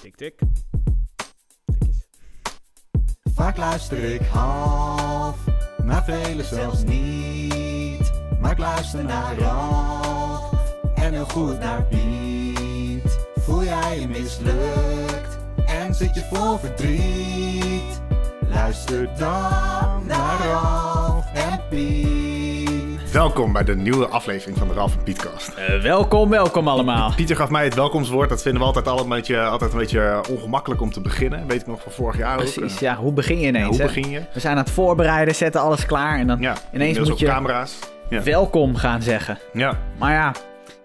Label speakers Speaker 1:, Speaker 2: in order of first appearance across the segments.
Speaker 1: Tik, tik. Tikjes.
Speaker 2: Vaak luister ik half, maar velen zelfs niet. Maar ik luister naar Ralf en heel goed naar Piet. Voel jij je mislukt en zit je vol verdriet? Luister dan naar Ralf en Piet.
Speaker 3: Welkom bij de nieuwe aflevering van de Ralf en Pietcast.
Speaker 1: Eh, welkom, welkom allemaal.
Speaker 3: Pieter gaf mij het welkomstwoord. Dat vinden we altijd, al een beetje, altijd een beetje ongemakkelijk om te beginnen. Weet ik nog van vorig jaar ook.
Speaker 1: Precies,
Speaker 3: Eh,
Speaker 1: ja, hoe begin je ineens?
Speaker 3: Ja, hoe
Speaker 1: hè?
Speaker 3: begin je?
Speaker 1: We zijn aan het voorbereiden, zetten alles klaar en dan
Speaker 3: Ja,
Speaker 1: ineens
Speaker 3: inmiddels
Speaker 1: moet
Speaker 3: ook
Speaker 1: je
Speaker 3: camera's. Ja.
Speaker 1: welkom gaan zeggen.
Speaker 3: ja.
Speaker 1: Maar ja,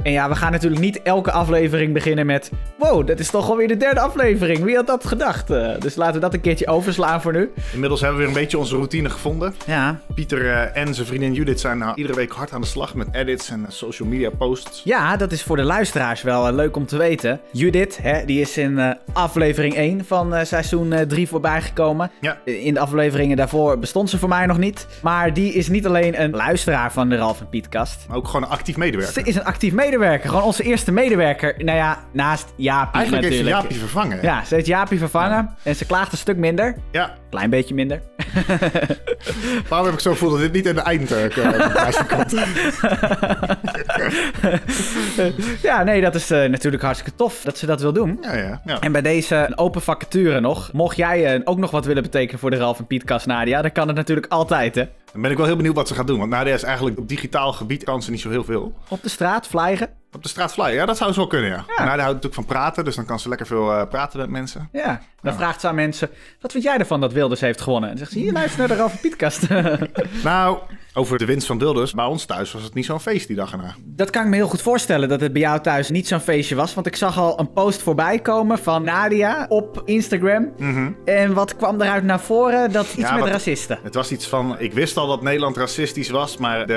Speaker 1: en ja, we gaan natuurlijk niet elke aflevering beginnen met... Wow, dat is toch alweer de derde aflevering. Wie had dat gedacht? Eh, dus laten we dat een keertje overslaan voor nu.
Speaker 3: Inmiddels hebben we weer een beetje onze routine gevonden.
Speaker 1: Ja,
Speaker 3: Pieter eh, en zijn vriendin Judith zijn eh, iedere week hard aan de slag met edits en eh, social media posts.
Speaker 1: Ja, dat is voor de luisteraars wel eh, leuk om te weten. Judith, hè, die is in eh, aflevering 1 van eh, seizoen 3 voorbij gekomen.
Speaker 3: Ja.
Speaker 1: Eh, In de afleveringen daarvoor bestond ze voor mij nog niet. Maar die is niet alleen een luisteraar van de Ralf en Pietkast.
Speaker 3: Maar ook gewoon een actief medewerker.
Speaker 1: Ze is een actief medewerker. Gewoon onze eerste medewerker. Nou ja, naast Jaapie
Speaker 3: Eigenlijk heeft ze
Speaker 1: natuurlijk.
Speaker 3: Jaapie vervangen.
Speaker 1: Ja, ze heeft Jaapie vervangen. En ze klaagt een stuk minder.
Speaker 3: ja.
Speaker 1: Klein beetje minder.
Speaker 3: Waarom heb ik zo gevoel dat dit niet in de eindprijs komt?
Speaker 1: ja, nee, dat is eh, natuurlijk hartstikke tof dat ze dat wil doen.
Speaker 3: Ja, ja, ja.
Speaker 1: En bij deze een open vacature nog. Mocht jij eh, ook nog wat willen betekenen voor de Ralf en Pietkast, Nadia, dan kan het natuurlijk altijd, hè?
Speaker 3: Dan ben ik wel heel benieuwd wat ze gaat doen. Want Nadia is eigenlijk op digitaal gebied kan ze niet zo heel veel.
Speaker 1: Op de straat vliegen.
Speaker 3: Op de straat flyer, ja, dat zou zo wel kunnen, ja.
Speaker 1: Ja.
Speaker 3: Nou, daar houdt natuurlijk van praten, dus dan kan ze lekker veel eh, praten met mensen.
Speaker 1: Ja. Dan vraagt ze aan mensen: wat vind jij ervan dat Wilders heeft gewonnen? En dan zegt ze: hier luister naar de Ralf en Pietkast.
Speaker 3: Nou, over de winst van Wilders, bij ons thuis was het niet zo'n feest die dag erna.
Speaker 1: dat kan ik me heel goed voorstellen dat het bij jou thuis niet zo'n feestje was. Want ik zag al een post voorbij komen van Nadia op Instagram. En wat kwam eruit naar voren? Dat iets
Speaker 3: Mhm. Ja,
Speaker 1: met
Speaker 3: wat-
Speaker 1: racisten.
Speaker 3: Het was iets van, ik wist al dat Nederland racistisch was, maar de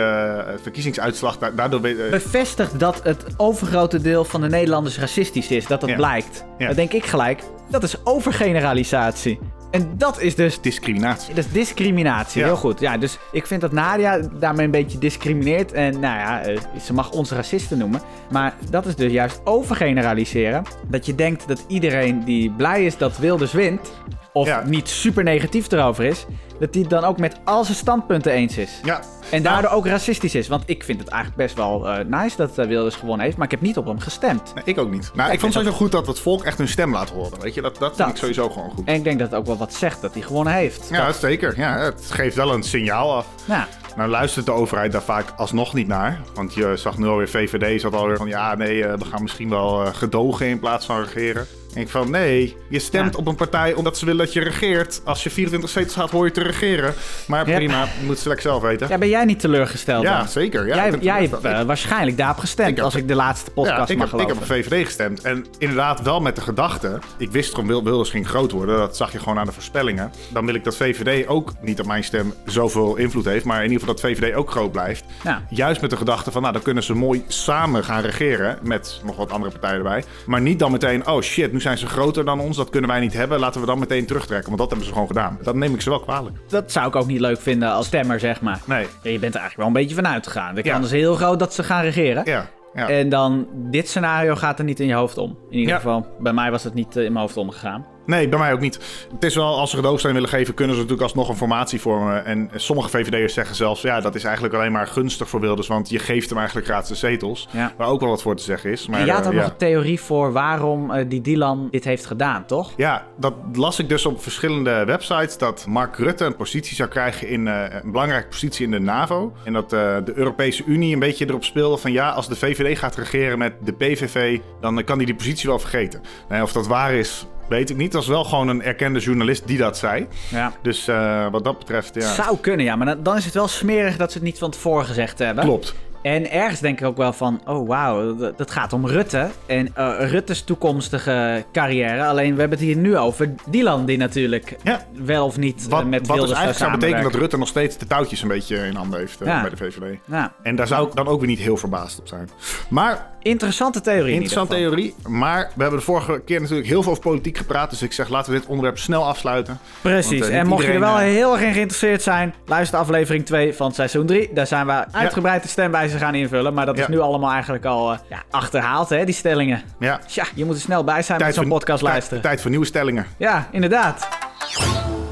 Speaker 3: eh, verkiezingsuitslag, da- daardoor... weet- eh,
Speaker 1: bevestigt dat het overgrote deel van de Nederlanders racistisch is. Dat dat
Speaker 3: Ja.
Speaker 1: blijkt.
Speaker 3: Ja.
Speaker 1: Dan denk ik gelijk, dat is overgeneralisatie. En dat is dus...
Speaker 3: discriminatie.
Speaker 1: Dat is discriminatie,
Speaker 3: Ja.
Speaker 1: heel goed. Ja, dus ik vind dat Nadia daarmee een beetje discrimineert. En nou ja, eh, ze mag ons racisten noemen. Maar dat is dus juist overgeneraliseren. Dat je denkt dat iedereen die blij is dat Wilders wint... of
Speaker 3: Ja.
Speaker 1: niet super negatief erover is... dat die het dan ook met al zijn standpunten eens is.
Speaker 3: Ja.
Speaker 1: En daardoor ook racistisch is. Want ik vind het eigenlijk best wel eh, nice dat eh, Wilders gewonnen heeft. Maar ik heb niet op hem gestemd.
Speaker 3: Nee, ik ook niet. Nou, ik vond het sowieso goed dat het volk echt hun stem laat horen, weet je. Dat, dat, vind
Speaker 1: Dat.
Speaker 3: ik sowieso gewoon goed.
Speaker 1: En ik denk dat het ook wel wat zegt dat hij gewonnen heeft.
Speaker 3: Ja, zeker. Ja, het geeft wel een signaal af.
Speaker 1: Nou,
Speaker 3: Nou luistert de overheid daar vaak alsnog niet naar. Want je zag nu alweer VVD zat alweer van ja, nee, eh, we gaan misschien wel eh, gedogen in plaats van regeren. En ik van nee, je stemt
Speaker 1: Ja.
Speaker 3: op een partij omdat ze willen dat je regeert. Als je 24 zetels gaat, hoor je te regeren. Maar
Speaker 1: Ja.
Speaker 3: prima, je moet ze lekker zelf weten. Ja,
Speaker 1: ja, ben jij niet teleurgesteld? dan?
Speaker 3: zeker. Ja,
Speaker 1: jij
Speaker 3: ik heb-
Speaker 1: jij
Speaker 3: ik-
Speaker 1: hebt eh, waarschijnlijk daarop gestemd.
Speaker 3: Ik heb-
Speaker 1: als ik de laatste
Speaker 3: ja,
Speaker 1: podcast
Speaker 3: ik,
Speaker 1: mag
Speaker 3: heb, ik
Speaker 1: geloven.
Speaker 3: heb op VVD gestemd. En inderdaad wel met de gedachte, ik wist gewoon Wil- Wilders ging groot worden. Dat zag je gewoon aan de voorspellingen. Dan wil ik dat VVD ook, niet dat mijn stem zoveel invloed heeft, maar in ieder geval dat VVD ook groot blijft.
Speaker 1: Ja.
Speaker 3: Juist met de gedachte van, nou dan kunnen ze mooi samen gaan regeren met nog wat andere partijen erbij. Maar niet dan meteen, oh shit, nu zijn ze groter dan ons, dat kunnen wij niet hebben. Laten we dan meteen terugtrekken, want dat hebben ze gewoon gedaan. Dat neem ik ze wel kwalijk.
Speaker 1: Dat zou ik ook niet leuk vinden als stemmer, zeg maar.
Speaker 3: Nee.
Speaker 1: Ja, je bent er eigenlijk wel een beetje van uitgegaan. De
Speaker 3: Ja.
Speaker 1: kans is heel groot dat ze gaan regeren.
Speaker 3: Ja, ja.
Speaker 1: En dan, dit scenario gaat er niet in je hoofd om. In ieder
Speaker 3: Ja.
Speaker 1: geval, bij mij was het niet eh, in mijn hoofd omgegaan.
Speaker 3: Nee, bij mij ook niet. Het is wel, als ze gedoogsteun willen geven, kunnen ze natuurlijk alsnog een formatie vormen. En sommige VVD'ers zeggen zelfs, ja, dat is eigenlijk alleen maar gunstig voor Wilders, want je geeft hem eigenlijk gratis de zetels.
Speaker 1: Ja.
Speaker 3: Waar ook wel wat voor te zeggen is. Maar,
Speaker 1: je had
Speaker 3: eh,
Speaker 1: ook
Speaker 3: ja.
Speaker 1: nog een theorie voor waarom eh, die Dylan dit heeft gedaan, toch?
Speaker 3: Ja, dat las ik dus op verschillende websites. Dat Mark Rutte een positie zou krijgen in eh, een belangrijke positie in de NAVO. En dat eh, de Europese Unie een beetje erop speelde van ja, als de VVD gaat regeren met de PVV, dan eh, kan hij die positie wel vergeten. Nee, of dat waar is, weet ik niet. Dat is wel gewoon een erkende journalist die dat zei.
Speaker 1: Ja.
Speaker 3: Dus eh, wat dat betreft, ja.
Speaker 1: Zou kunnen, ja. Maar dan, dan is het wel smerig dat ze het niet van tevoren gezegd hebben.
Speaker 3: Klopt.
Speaker 1: En ergens denk ik ook wel van, oh wauw, dat, dat gaat om Rutte. En eh, Rutte's toekomstige carrière. Alleen we hebben het hier nu over Dylan, die natuurlijk
Speaker 3: Ja.
Speaker 1: wel of niet eh,
Speaker 3: Wat,
Speaker 1: met
Speaker 3: wat dus
Speaker 1: Wilders
Speaker 3: eigenlijk zou betekenen dat
Speaker 1: samenwerken.
Speaker 3: Rutte nog steeds de touwtjes een beetje in handen heeft eh,
Speaker 1: Ja.
Speaker 3: bij de VVD.
Speaker 1: Nou,
Speaker 3: En daar zou ik dan ook weer niet heel verbaasd op zijn. Maar
Speaker 1: interessante theorie.
Speaker 3: Interessante
Speaker 1: in ieder
Speaker 3: theorie, maar we hebben de vorige keer natuurlijk heel veel over politiek gepraat. Dus ik zeg, laten we dit onderwerp snel afsluiten.
Speaker 1: geval. Precies.
Speaker 3: Want, eh, niet
Speaker 1: en mocht je er
Speaker 3: iedereen,
Speaker 1: wel
Speaker 3: eh,
Speaker 1: heel erg in geïnteresseerd zijn, luister aflevering 2 van seizoen 3. Daar zijn we uitgebreid de stem bij ze gaan invullen. Maar dat is
Speaker 3: Ja.
Speaker 1: nu allemaal eigenlijk al eh, ja, achterhaald, hè, die stellingen.
Speaker 3: Ja.
Speaker 1: Tja, je moet er snel bij zijn met zo'n
Speaker 3: voor-
Speaker 1: podcast
Speaker 3: tijd-
Speaker 1: luisteren.
Speaker 3: Tijd voor nieuwe stellingen.
Speaker 1: Ja, inderdaad.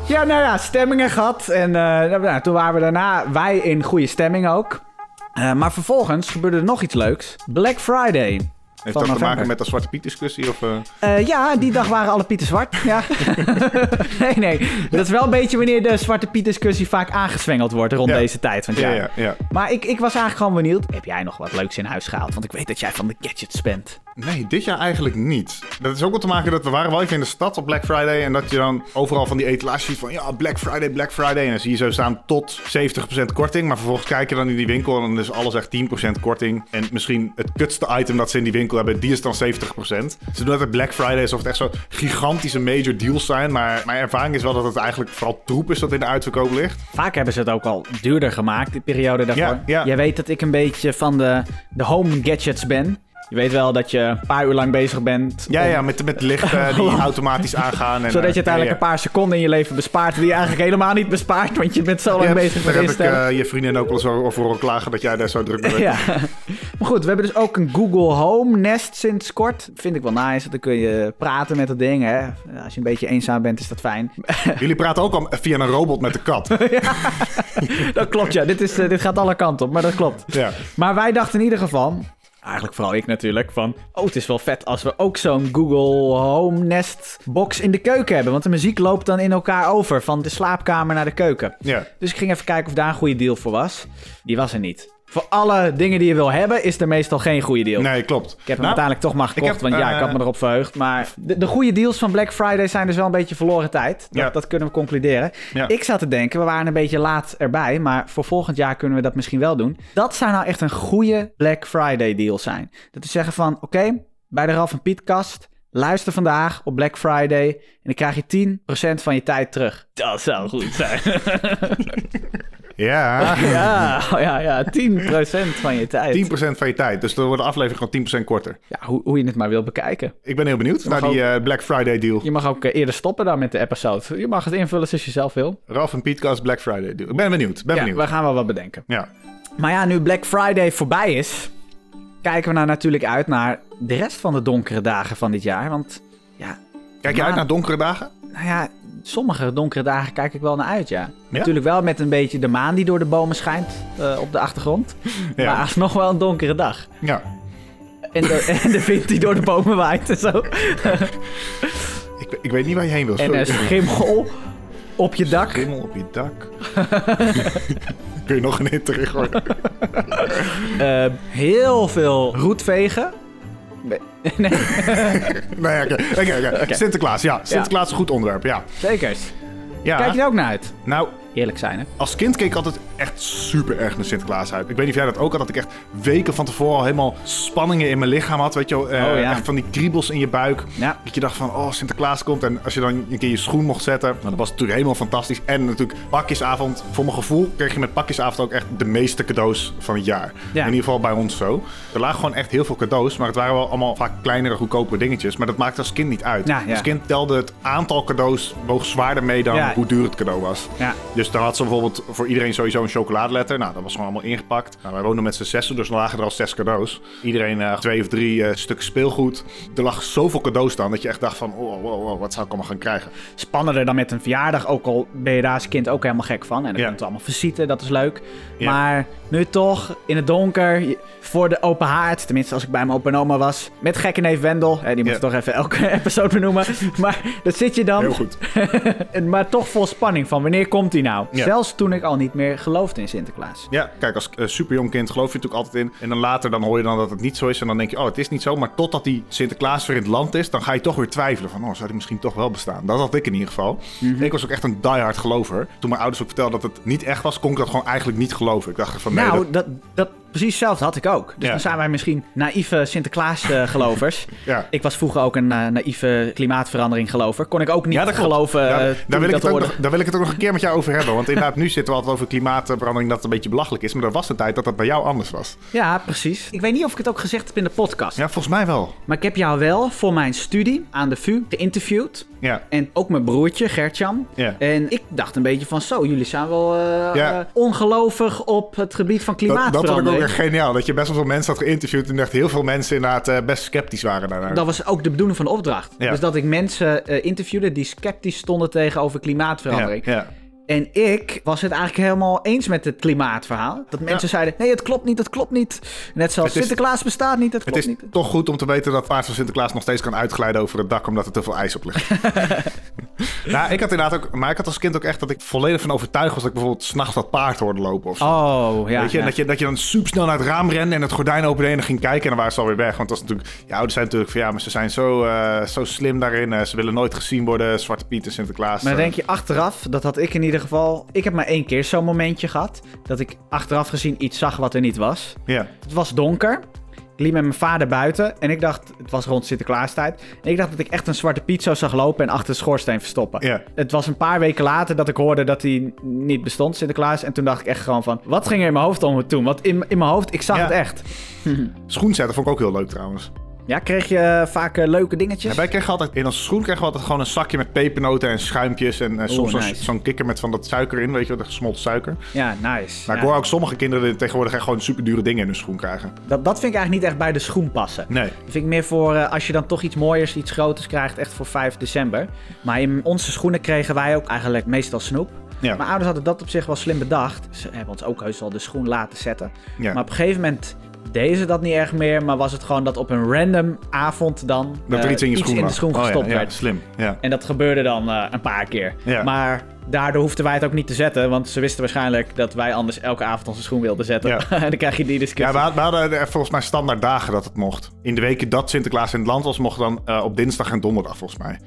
Speaker 1: Ja, nou ja, stemmingen gehad. En eh, nou, nou, toen waren we daarna wij in goede stemming ook. Eh, maar vervolgens gebeurde er nog iets leuks. Black Friday.
Speaker 3: Heeft
Speaker 1: van
Speaker 3: dat te
Speaker 1: november.
Speaker 3: maken met de Zwarte Piet discussie? Of, eh,
Speaker 1: Eh, ja, die dag waren alle pieten zwart. Ja. nee, nee. Dat is wel een beetje wanneer de Zwarte Piet discussie vaak aangezwengeld wordt rond
Speaker 3: Ja.
Speaker 1: deze tijd van het
Speaker 3: ja,
Speaker 1: jaar.
Speaker 3: ja, ja.
Speaker 1: Maar ik, ik was eigenlijk gewoon benieuwd. Heb jij nog wat leuks in huis gehaald? Want ik weet dat jij van de gadgets bent.
Speaker 3: Nee, dit jaar eigenlijk niet. Dat is ook wel te maken dat we waren wel even in de stad op Black Friday. En dat je dan overal van die etalages ziet van ja, Black Friday, Black Friday. En dan zie je zo staan tot 70% korting. Maar vervolgens kijk je dan in die winkel en dan is alles echt 10% korting. En misschien het kutste item dat ze in die winkel hebben, die is dan 70%. Ze doen altijd Black Friday alsof het echt zo gigantische major deals zijn. Maar mijn ervaring is wel dat het eigenlijk vooral troep is dat in de uitverkoop ligt.
Speaker 1: Vaak hebben ze het ook al duurder gemaakt, die periode daarvoor.
Speaker 3: Ja, ja.
Speaker 1: Jij weet dat ik een beetje van de, de home gadgets ben. Je weet wel dat je een paar uur lang bezig bent.
Speaker 3: Ja,
Speaker 1: om-
Speaker 3: ja, met, met lichten die automatisch aangaan. En,
Speaker 1: Zodat je
Speaker 3: eh, ja,
Speaker 1: uiteindelijk
Speaker 3: ja.
Speaker 1: een paar seconden in je leven bespaart. Die je eigenlijk helemaal niet bespaart, want je bent zo lang
Speaker 3: Ja,
Speaker 1: bezig met
Speaker 3: Daar heb ik
Speaker 1: instellen.
Speaker 3: eh, je vrienden ook wel zo over horen klagen dat jij daar zo druk mee bent.
Speaker 1: Ja. Maar goed, we hebben dus ook een Google Home Nest sinds kort. Vind ik wel nice. Dan kun je praten met dat ding. Hè. Als je een beetje eenzaam bent, is dat fijn.
Speaker 3: Jullie praten ook al via een robot met de kat.
Speaker 1: dat klopt, ja. Dit, is, eh, dit gaat alle kanten op, maar dat klopt.
Speaker 3: Ja.
Speaker 1: Maar wij dachten in ieder geval, eigenlijk vooral ik natuurlijk, van... Oh, het is wel vet als we ook zo'n Google Home Nest box in de keuken hebben. Want de muziek loopt dan in elkaar over, van de slaapkamer naar de keuken.
Speaker 3: Ja.
Speaker 1: Dus ik ging even kijken of daar een goede deal voor was. Die was er niet. Voor alle dingen die je wil hebben, is er meestal geen goede deal.
Speaker 3: Nee, klopt.
Speaker 1: Ik heb hem
Speaker 3: Nou,
Speaker 1: uiteindelijk toch maar gekocht,
Speaker 3: heb,
Speaker 1: want ja, ik
Speaker 3: eh,
Speaker 1: had me erop verheugd. Maar de, de goede deals van Black Friday zijn dus wel een beetje verloren tijd. Dat,
Speaker 3: Ja.
Speaker 1: dat kunnen we concluderen.
Speaker 3: Ja.
Speaker 1: Ik zat te denken, we waren een beetje laat erbij, maar voor volgend jaar kunnen we dat misschien wel doen. Dat zou nou echt een goede Black Friday deal zijn. Dat is zeggen van, oké, bij de Ralf en Piet kast, luister vandaag op Black Friday en dan krijg je 10% van je tijd terug. Dat zou goed zijn. Ah,
Speaker 3: Ja, 10%
Speaker 1: ja, ja, ja, 10% van je tijd.
Speaker 3: van je tijd. Dus dan wordt de aflevering gewoon 10% korter.
Speaker 1: Ja, hoe, hoe je het maar wil bekijken.
Speaker 3: Ik ben heel benieuwd naar
Speaker 1: mag
Speaker 3: die eh, Black Friday deal.
Speaker 1: Je mag ook eh, eerder stoppen dan met de episode. Je mag het invullen zoals je zelf wil.
Speaker 3: Ralf en Pietcast Black Friday deal. Ik ben benieuwd. Ben
Speaker 1: Ja,
Speaker 3: benieuwd.
Speaker 1: we gaan wel wat bedenken.
Speaker 3: Ja.
Speaker 1: Maar ja, nu Black Friday voorbij is, kijken we nou natuurlijk uit naar de rest van de donkere dagen van dit jaar. Want ja,
Speaker 3: Kijk je
Speaker 1: Maar-
Speaker 3: uit naar donkere dagen?
Speaker 1: nou ja, sommige donkere dagen kijk ik wel naar uit, ja.
Speaker 3: Ja?
Speaker 1: Natuurlijk wel met een beetje de maan die door de bomen schijnt eh, op de achtergrond.
Speaker 3: Ja.
Speaker 1: Maar alsnog wel een donkere dag.
Speaker 3: Ja.
Speaker 1: En de, en de wind die door de bomen waait en zo.
Speaker 3: Ik, ik weet niet waar je heen wil.
Speaker 1: En eh,
Speaker 3: Sorry.
Speaker 1: schimmel op je dak.
Speaker 3: Schimmel op je dak. Kun je nog een hint terug hoor.
Speaker 1: Eh, heel veel roetvegen.
Speaker 3: Nou ja, oké. oké, oké. Sinterklaas, ja. Sinterklaas is een goed onderwerp, ja.
Speaker 1: Zekers.
Speaker 3: ja.
Speaker 1: Kijk je er ook naar uit?
Speaker 3: Nou,
Speaker 1: Eerlijk zijn, hè?
Speaker 3: Als kind keek ik altijd echt super erg naar Sinterklaas uit. Ik weet niet of jij dat ook had, dat ik echt weken van tevoren al helemaal spanningen in mijn lichaam had. Weet je wel, eh,
Speaker 1: Oh, ja.
Speaker 3: echt van die kriebels in je buik.
Speaker 1: Ja.
Speaker 3: Dat je dacht van, oh, Sinterklaas komt. En als je dan een keer je schoen mocht zetten, nou, dat was natuurlijk helemaal fantastisch. En natuurlijk pakjesavond. Voor mijn gevoel kreeg je met pakjesavond ook echt de meeste cadeaus van het jaar.
Speaker 1: Ja.
Speaker 3: In ieder geval bij ons zo. Er lagen gewoon echt heel veel cadeaus, maar het waren wel allemaal vaak kleinere, goedkopere dingetjes. Maar dat maakte als kind niet uit.
Speaker 1: Ja, ja.
Speaker 3: Als kind telde het aantal cadeaus woog zwaarder mee dan
Speaker 1: Ja.
Speaker 3: hoe duur het cadeau was.
Speaker 1: Ja.
Speaker 3: Dus daar had ze bijvoorbeeld voor iedereen sowieso een chocoladeletter. Nou, dat was gewoon allemaal ingepakt. Nou, wij woonden met z'n zessen, dus dan lagen er al zes cadeaus. Iedereen eh, twee of drie eh, stukken speelgoed. Er lag zoveel cadeaus dan dat je echt dacht van... Oh, oh, oh, wat zou ik allemaal gaan krijgen?
Speaker 1: spannender dan met een verjaardag. Ook al ben je daar als kind ook helemaal gek van. En dan
Speaker 3: Ja.
Speaker 1: komt het allemaal visite, dat is leuk.
Speaker 3: Ja.
Speaker 1: Maar nu toch, in het donker, je- voor de open haard. Tenminste, als ik bij mijn opa en oma was. Met gekke neef Wendel. Hè, die moet
Speaker 3: Ja.
Speaker 1: ik toch even elke episode benoemen. Maar dat zit je dan.
Speaker 3: Heel goed.
Speaker 1: En- maar toch vol spanning van wanneer komt hij nou?
Speaker 3: Ja.
Speaker 1: Zelfs toen ik al niet meer geloofde in Sinterklaas.
Speaker 3: Ja, kijk, als eh, superjong kind geloof je natuurlijk altijd in. En dan later dan hoor je dan dat het niet zo is. En dan denk je, oh, het is niet zo. Maar totdat die Sinterklaas weer in het land is, dan ga je toch weer twijfelen. Van, oh, zou die misschien toch wel bestaan? Dat had ik in ieder geval.
Speaker 1: Mhm.
Speaker 3: Ik was ook echt een diehard gelover. Toen mijn ouders ook vertelden dat het niet echt was, kon ik dat gewoon eigenlijk niet geloven. Ik dacht van, nee, dat-
Speaker 1: nou, dat, dat precies hetzelfde had ik ook. Dus
Speaker 3: Ja.
Speaker 1: dan zijn wij misschien naïeve Sinterklaas-gelovers.
Speaker 3: Ja.
Speaker 1: Ik was vroeger ook een eh, naïeve klimaatverandering-gelover. Kon ik ook niet
Speaker 3: Ja, dat klopt.
Speaker 1: geloven
Speaker 3: Ja,
Speaker 1: eh,
Speaker 3: daar,
Speaker 1: toen
Speaker 3: wil ik
Speaker 1: dat
Speaker 3: het ook
Speaker 1: hoorde.
Speaker 3: nog, daar wil ik het ook nog een keer met jou over hebben. Want inderdaad, nu zitten we altijd over klimaatverandering dat het een beetje belachelijk is. Maar er was een tijd dat dat bij jou anders was.
Speaker 1: Ja, precies. Ik weet niet of ik het ook gezegd heb in de podcast.
Speaker 3: Ja, volgens mij wel.
Speaker 1: Maar ik heb jou wel voor mijn studie aan de VU geïnterviewd.
Speaker 3: Ja.
Speaker 1: En ook mijn broertje, Gertjan.
Speaker 3: Ja.
Speaker 1: En ik dacht een beetje van zo, jullie zijn wel eh,
Speaker 3: Ja.
Speaker 1: eh, ongelovig op het gebied van
Speaker 3: Dat, dat vond ik ook
Speaker 1: klimaatverandering.
Speaker 3: echt geniaal. Dat je best wel veel mensen had geïnterviewd. En echt heel veel mensen inderdaad eh, best sceptisch waren daarna.
Speaker 1: Dat was ook de bedoeling van de opdracht.
Speaker 3: Ja.
Speaker 1: Dus dat ik mensen eh, interviewde die sceptisch stonden tegenover
Speaker 3: ja,
Speaker 1: klimaatverandering.
Speaker 3: ja.
Speaker 1: En ik was het eigenlijk helemaal eens met het klimaatverhaal. Dat mensen zeiden, nee, het klopt niet, het klopt niet. Net zoals
Speaker 3: Het is-
Speaker 1: Sinterklaas bestaat niet, het
Speaker 3: Het
Speaker 1: klopt
Speaker 3: is
Speaker 1: niet.
Speaker 3: toch goed om te weten dat paard van Sinterklaas nog steeds kan uitglijden over het dak omdat er te veel ijs op ligt. nou, ik had inderdaad ook, maar ik had als kind ook echt dat ik volledig van overtuigd was dat ik bijvoorbeeld s'nachts dat paard hoorde lopen of zo.
Speaker 1: Oh, ja.
Speaker 3: Weet je,
Speaker 1: ja.
Speaker 3: en dat je, dat je dan super snel naar het raam rende en het gordijn opende en dan ging kijken en dan waren ze alweer weg. Want dat is natuurlijk, je ouders zijn natuurlijk van ja, maar ze zijn zo, eh, zo slim daarin. eh, ze willen nooit gezien worden, Zwarte Piet en Sinterklaas.
Speaker 1: Maar
Speaker 3: eh.
Speaker 1: denk je achteraf, dat had ik in ieder geval. Ik heb maar één keer zo'n momentje gehad. Dat ik achteraf gezien iets zag wat er niet was.
Speaker 3: Ja,
Speaker 1: Het was donker. Ik liep met mijn vader buiten. En ik dacht, het was rond Sinterklaastijd. En ik dacht dat ik echt een zwarte Piet zo zag lopen en achter de schoorsteen verstoppen.
Speaker 3: Ja.
Speaker 1: Het was een paar weken later dat ik hoorde dat hij niet bestond, Sinterklaas. En toen dacht ik echt gewoon van, wat ging er in mijn hoofd om toen? Want in, in mijn hoofd, ik zag
Speaker 3: Ja.
Speaker 1: het echt.
Speaker 3: schoen zetten vond ik ook heel leuk trouwens.
Speaker 1: Ja, kreeg je eh, vaak eh, leuke dingetjes?
Speaker 3: Ja, wij kregen altijd, in onze schoen kregen we altijd gewoon een zakje met pepernoten en schuimpjes. En eh, soms zo'n-
Speaker 1: nice.
Speaker 3: zo'n kikker met van dat suiker in, weet je wel, dat gesmolten suiker.
Speaker 1: Ja, nice.
Speaker 3: Maar
Speaker 1: Ja.
Speaker 3: ik hoor ook sommige kinderen die tegenwoordig echt gewoon super dure dingen in hun schoen krijgen.
Speaker 1: dat, dat vind ik eigenlijk niet echt bij de schoen passen.
Speaker 3: Nee.
Speaker 1: Dat vind ik meer voor eh, als je dan toch iets mooiers, iets groters krijgt, echt voor 5 december. Maar in onze schoenen kregen wij ook eigenlijk meestal snoep.
Speaker 3: Ja.
Speaker 1: Mijn ouders hadden dat op zich wel slim bedacht. Ze hebben ons ook heus wel de schoen laten zetten.
Speaker 3: Ja.
Speaker 1: Maar op een gegeven moment deden ze dat niet erg meer. Maar was het gewoon dat op een random avond dan
Speaker 3: Dat er
Speaker 1: eh,
Speaker 3: iets in je schoen
Speaker 1: de
Speaker 3: lag.
Speaker 1: schoen
Speaker 3: Oh ja,
Speaker 1: gestopt
Speaker 3: ja,
Speaker 1: werd.
Speaker 3: slim. Ja.
Speaker 1: En dat gebeurde dan eh, een paar keer.
Speaker 3: Ja.
Speaker 1: Maar daardoor hoefden wij het ook niet te zetten. Want ze wisten waarschijnlijk dat wij anders elke avond onze schoen wilden zetten.
Speaker 3: Ja.
Speaker 1: en dan krijg je die discussie.
Speaker 3: Ja, we had- we hadden er volgens mij standaard dagen dat het mocht. In de weken dat Sinterklaas in het land was, mocht dan eh, op dinsdag en donderdag volgens mij.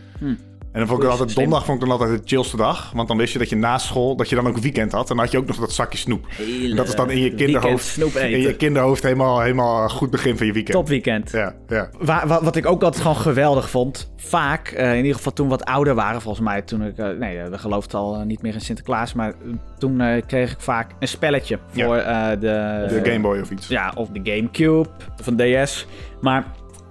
Speaker 3: En dan vond ik
Speaker 1: Goed,
Speaker 3: altijd,
Speaker 1: Hm. slim.
Speaker 3: donderdag vond ik dan altijd de chillste dag. Want dan wist je dat je na school, dat je dan ook weekend had. En dan had je ook nog dat zakje snoep.
Speaker 1: Hele
Speaker 3: En dat is dan in je kinderhoofd,
Speaker 1: weekendsnoep eten.
Speaker 3: in je kinderhoofd helemaal, helemaal goed begin van je weekend.
Speaker 1: Topweekend.
Speaker 3: Ja, ja.
Speaker 1: Wa- wa- wat ik ook altijd gewoon geweldig vond, vaak, eh, in ieder geval toen we wat ouder waren, volgens mij, toen ik, eh, nee, eh, we geloofden al eh, niet meer in Sinterklaas, maar eh, toen eh, kreeg ik vaak een spelletje
Speaker 3: Ja.
Speaker 1: voor eh, de...
Speaker 3: De Game Boy of iets.
Speaker 1: Ja, of de Gamecube, of een DS. Maar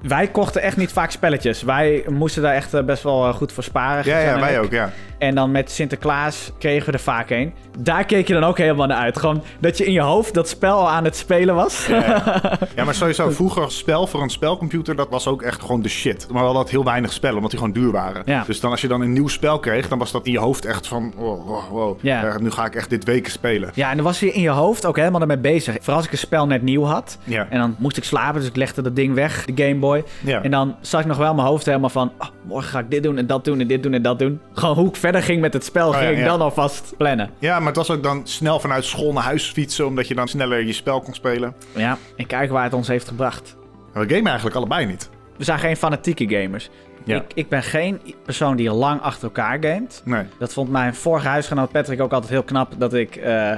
Speaker 1: wij kochten echt niet vaak spelletjes. Wij moesten daar echt eh, best wel eh, goed voor sparen.
Speaker 3: Ja,
Speaker 1: Gertjan
Speaker 3: ja,
Speaker 1: en
Speaker 3: wij
Speaker 1: ik.
Speaker 3: ook, ja.
Speaker 1: En dan met Sinterklaas kregen we er vaak een. Daar keek je dan ook helemaal naar uit. Gewoon dat je in je hoofd dat spel al aan het spelen was.
Speaker 3: Ja, maar sowieso, vroeger spel voor een spelcomputer, dat was ook echt gewoon de shit. Maar wel dat heel weinig spellen, omdat die gewoon duur waren.
Speaker 1: Ja.
Speaker 3: Dus dan als je dan een nieuw spel kreeg, dan was dat in je hoofd echt van, wow, wow, wow.
Speaker 1: Ja.
Speaker 3: Eh, nu ga ik echt dit weken spelen.
Speaker 1: Ja, en dan was je in je hoofd ook helemaal ermee bezig. Vooral als ik een spel net nieuw had.
Speaker 3: Ja.
Speaker 1: En dan moest ik slapen, dus ik legde dat ding weg, de Game Boy.
Speaker 3: Ja.
Speaker 1: En dan zat ik nog wel in mijn hoofd helemaal van... "Oh, morgen ga ik dit doen en dat doen en dit doen en dat doen. Gewoon hoe ik verder ging met het spel,
Speaker 3: Oh ja,
Speaker 1: ging ik
Speaker 3: ja.
Speaker 1: dan alvast plannen.
Speaker 3: Ja, maar het was ook dan snel vanuit school naar huis fietsen, omdat je dan sneller je spel kon spelen.
Speaker 1: Ja, en kijk waar het ons heeft gebracht.
Speaker 3: Maar we gamen eigenlijk allebei niet.
Speaker 1: We zijn geen fanatieke gamers.
Speaker 3: Ja.
Speaker 1: Ik, ik ben geen persoon die lang achter elkaar gamet.
Speaker 3: Nee.
Speaker 1: Dat vond mijn vorige huisgenoot Patrick ook altijd heel knap. Dat ik eh,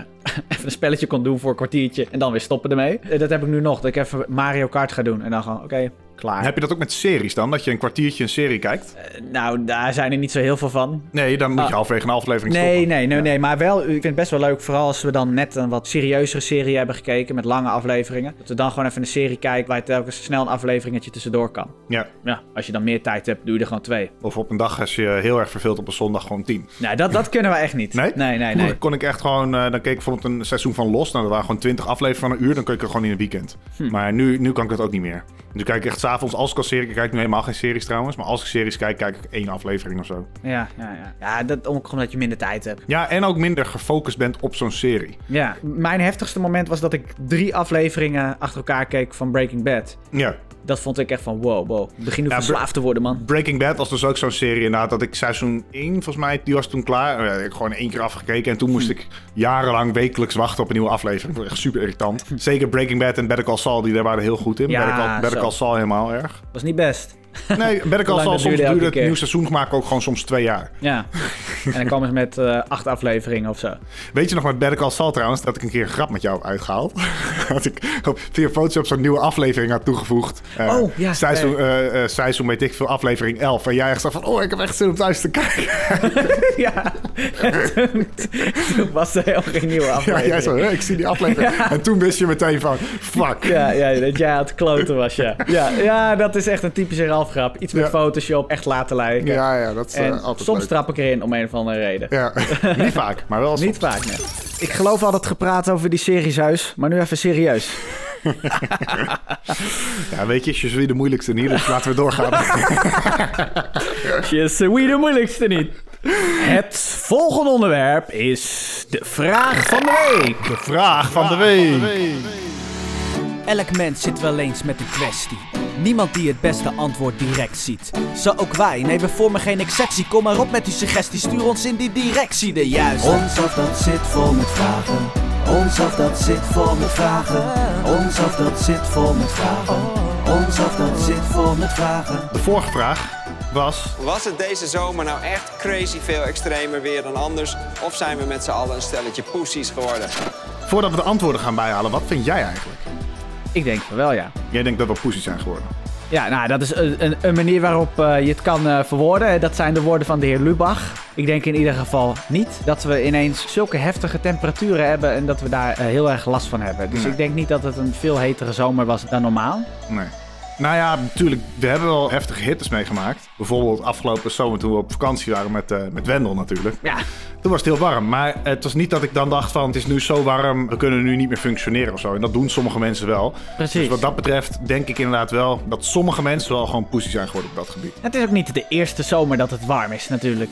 Speaker 1: even een spelletje kon doen voor een kwartiertje en dan weer stoppen ermee. Eh, Dat heb ik nu nog. Dat ik even Mario Kart ga doen en dan gewoon, oké, klaar.
Speaker 3: En heb je dat ook met series dan? Dat je een kwartiertje een serie kijkt?
Speaker 1: Nou, daar zijn er niet zo heel veel van.
Speaker 3: Nee, dan moet je
Speaker 1: Ah.
Speaker 3: halverwege een aflevering
Speaker 1: Nee,
Speaker 3: stoppen.
Speaker 1: nee, nee, nee. Maar wel, ik vind het best wel leuk. Vooral als we dan net een wat serieuzere serie hebben gekeken. Met lange afleveringen. Dat we dan gewoon even een serie kijken. Waar je telkens snel een afleveringetje tussendoor kan.
Speaker 3: Ja.
Speaker 1: Ja, als je dan meer tijd hebt, doe je er gewoon twee.
Speaker 3: Of op een dag als je heel erg verveelt op een zondag gewoon tien.
Speaker 1: Nou, dat, dat kunnen we echt niet.
Speaker 3: Nee?
Speaker 1: Nee, nee,
Speaker 3: Vroeger
Speaker 1: nee.
Speaker 3: kon ik echt gewoon... eh, dan keek ik bijvoorbeeld een seizoen van Los. Nou, dat waren gewoon 20 afleveringen van een uur. Dan keek ik het gewoon in een weekend.
Speaker 1: Hm.
Speaker 3: Maar nu, nu kan ik dat ook niet meer. Nu kijk ik echt s'avonds als ik al serie... Ik kijk nu helemaal geen series trouwens. Maar als ik series kijk, kijk ik één aflevering of zo.
Speaker 1: Ja, ja, ja. ja dat, ook omdat je minder tijd hebt.
Speaker 3: Ja, en ook minder gefocust bent op zo'n serie.
Speaker 1: Ja. Mijn heftigste moment was dat ik drie afleveringen achter elkaar keek van Breaking Bad.
Speaker 3: Ja.
Speaker 1: Dat vond ik echt van wow, wow. Ik begin nu
Speaker 3: Ja, Bre-
Speaker 1: verslaafd te worden, man.
Speaker 3: Breaking Bad was dus ook zo'n serie inderdaad. Dat ik seizoen 1, volgens mij, die was toen klaar. Eh, ik heb gewoon één keer afgekeken. En toen
Speaker 1: Hm.
Speaker 3: moest ik jarenlang wekelijks wachten op een nieuwe aflevering. Dat was echt super irritant. Zeker Breaking Bad en Better Call Saul, die daar waren heel goed in.
Speaker 1: Ja,
Speaker 3: Better, Call, Better
Speaker 1: zo.
Speaker 3: Call Saul helemaal erg.
Speaker 1: Was niet best.
Speaker 3: Nee, Better Call
Speaker 1: dat
Speaker 3: Saul, soms
Speaker 1: duurde elke
Speaker 3: duurde het
Speaker 1: keer.
Speaker 3: nieuw seizoen gemaakt ook gewoon soms twee jaar.
Speaker 1: Ja. en dan kwamen ze met eh, acht afleveringen of zo.
Speaker 3: Weet je nog met Better Call Saul trouwens, dat ik een keer een grap met jou heb uitgehaald? dat ik op, via Photoshop zo'n nieuwe aflevering had toegevoegd. Eh,
Speaker 1: Oh, ja,
Speaker 3: Seizoen,
Speaker 1: ja.
Speaker 3: eh, eh, seizoen, weet ik veel, aflevering 11. En jij echt zo van, oh, ik heb echt zin om thuis te kijken.
Speaker 1: Ja, en toen, toen was er helemaal geen nieuwe
Speaker 3: Ja,
Speaker 1: aflevering.
Speaker 3: jij zo, hè, ik zie die aflevering. En toen wist je meteen van, fuck.
Speaker 1: Ja, ja, dat jij aan het kloten was, ja. ja. Ja, dat is echt een typische zelfgrap, iets met
Speaker 3: Ja.
Speaker 1: Photoshop, echt laten lijken.
Speaker 3: Ja, ja, dat is eh,
Speaker 1: en
Speaker 3: altijd
Speaker 1: soms
Speaker 3: leuk.
Speaker 1: trap ik erin om een of andere reden.
Speaker 3: Ja, niet vaak, maar wel soms.
Speaker 1: Niet vaak, nee. Ik geloof al dat gepraat over die series huis, maar nu even serieus.
Speaker 3: Ja, weet je, je is weer de moeilijkste niet, dus laten we doorgaan.
Speaker 1: Yes, eh, wie de moeilijkste niet. Het volgende onderwerp is de vraag van de week.
Speaker 3: De vraag van de week.
Speaker 4: Elk mens zit wel eens met een kwestie. Niemand die het beste antwoord direct ziet. Zo ook wij, nee we vormen geen exceptie. Kom maar op met die suggestie, stuur ons in die directie de juiste.
Speaker 2: Ons af dat zit vol met vragen. Ons af dat zit vol met vragen. Ons af dat zit vol met vragen. Ons af dat zit vol met vragen.
Speaker 3: De vorige vraag was...
Speaker 5: Was het deze zomer nou echt crazy veel extremer weer dan anders? Of zijn we met z'n allen een stelletje poesies geworden?
Speaker 3: Voordat we de antwoorden gaan bijhalen, wat vind jij eigenlijk?
Speaker 1: Ik denk van wel, ja.
Speaker 3: Jij denkt dat we poesies zijn geworden.
Speaker 1: Ja, nou, dat is een, een- een manier waarop eh, je het kan eh, verwoorden. Dat zijn de woorden van de heer Lubach. Ik denk in ieder geval niet dat we ineens zulke heftige temperaturen hebben en dat we daar eh, heel erg last van hebben. Dus
Speaker 3: Nee.
Speaker 1: ik denk niet dat het een veel hetere zomer was dan normaal.
Speaker 3: Nee. Nou ja, natuurlijk, we hebben wel heftige hittes meegemaakt. Bijvoorbeeld afgelopen zomer toen we op vakantie waren met, eh, met Wendel natuurlijk.
Speaker 1: Ja,
Speaker 3: Toen was het heel warm, maar het was niet dat ik dan dacht van het is nu zo warm, we kunnen nu niet meer functioneren of zo. En dat doen sommige mensen wel.
Speaker 1: Precies.
Speaker 3: Dus wat dat betreft denk ik inderdaad wel dat sommige mensen wel gewoon poesie zijn geworden op dat gebied.
Speaker 1: het is ook niet de eerste zomer dat het warm is natuurlijk.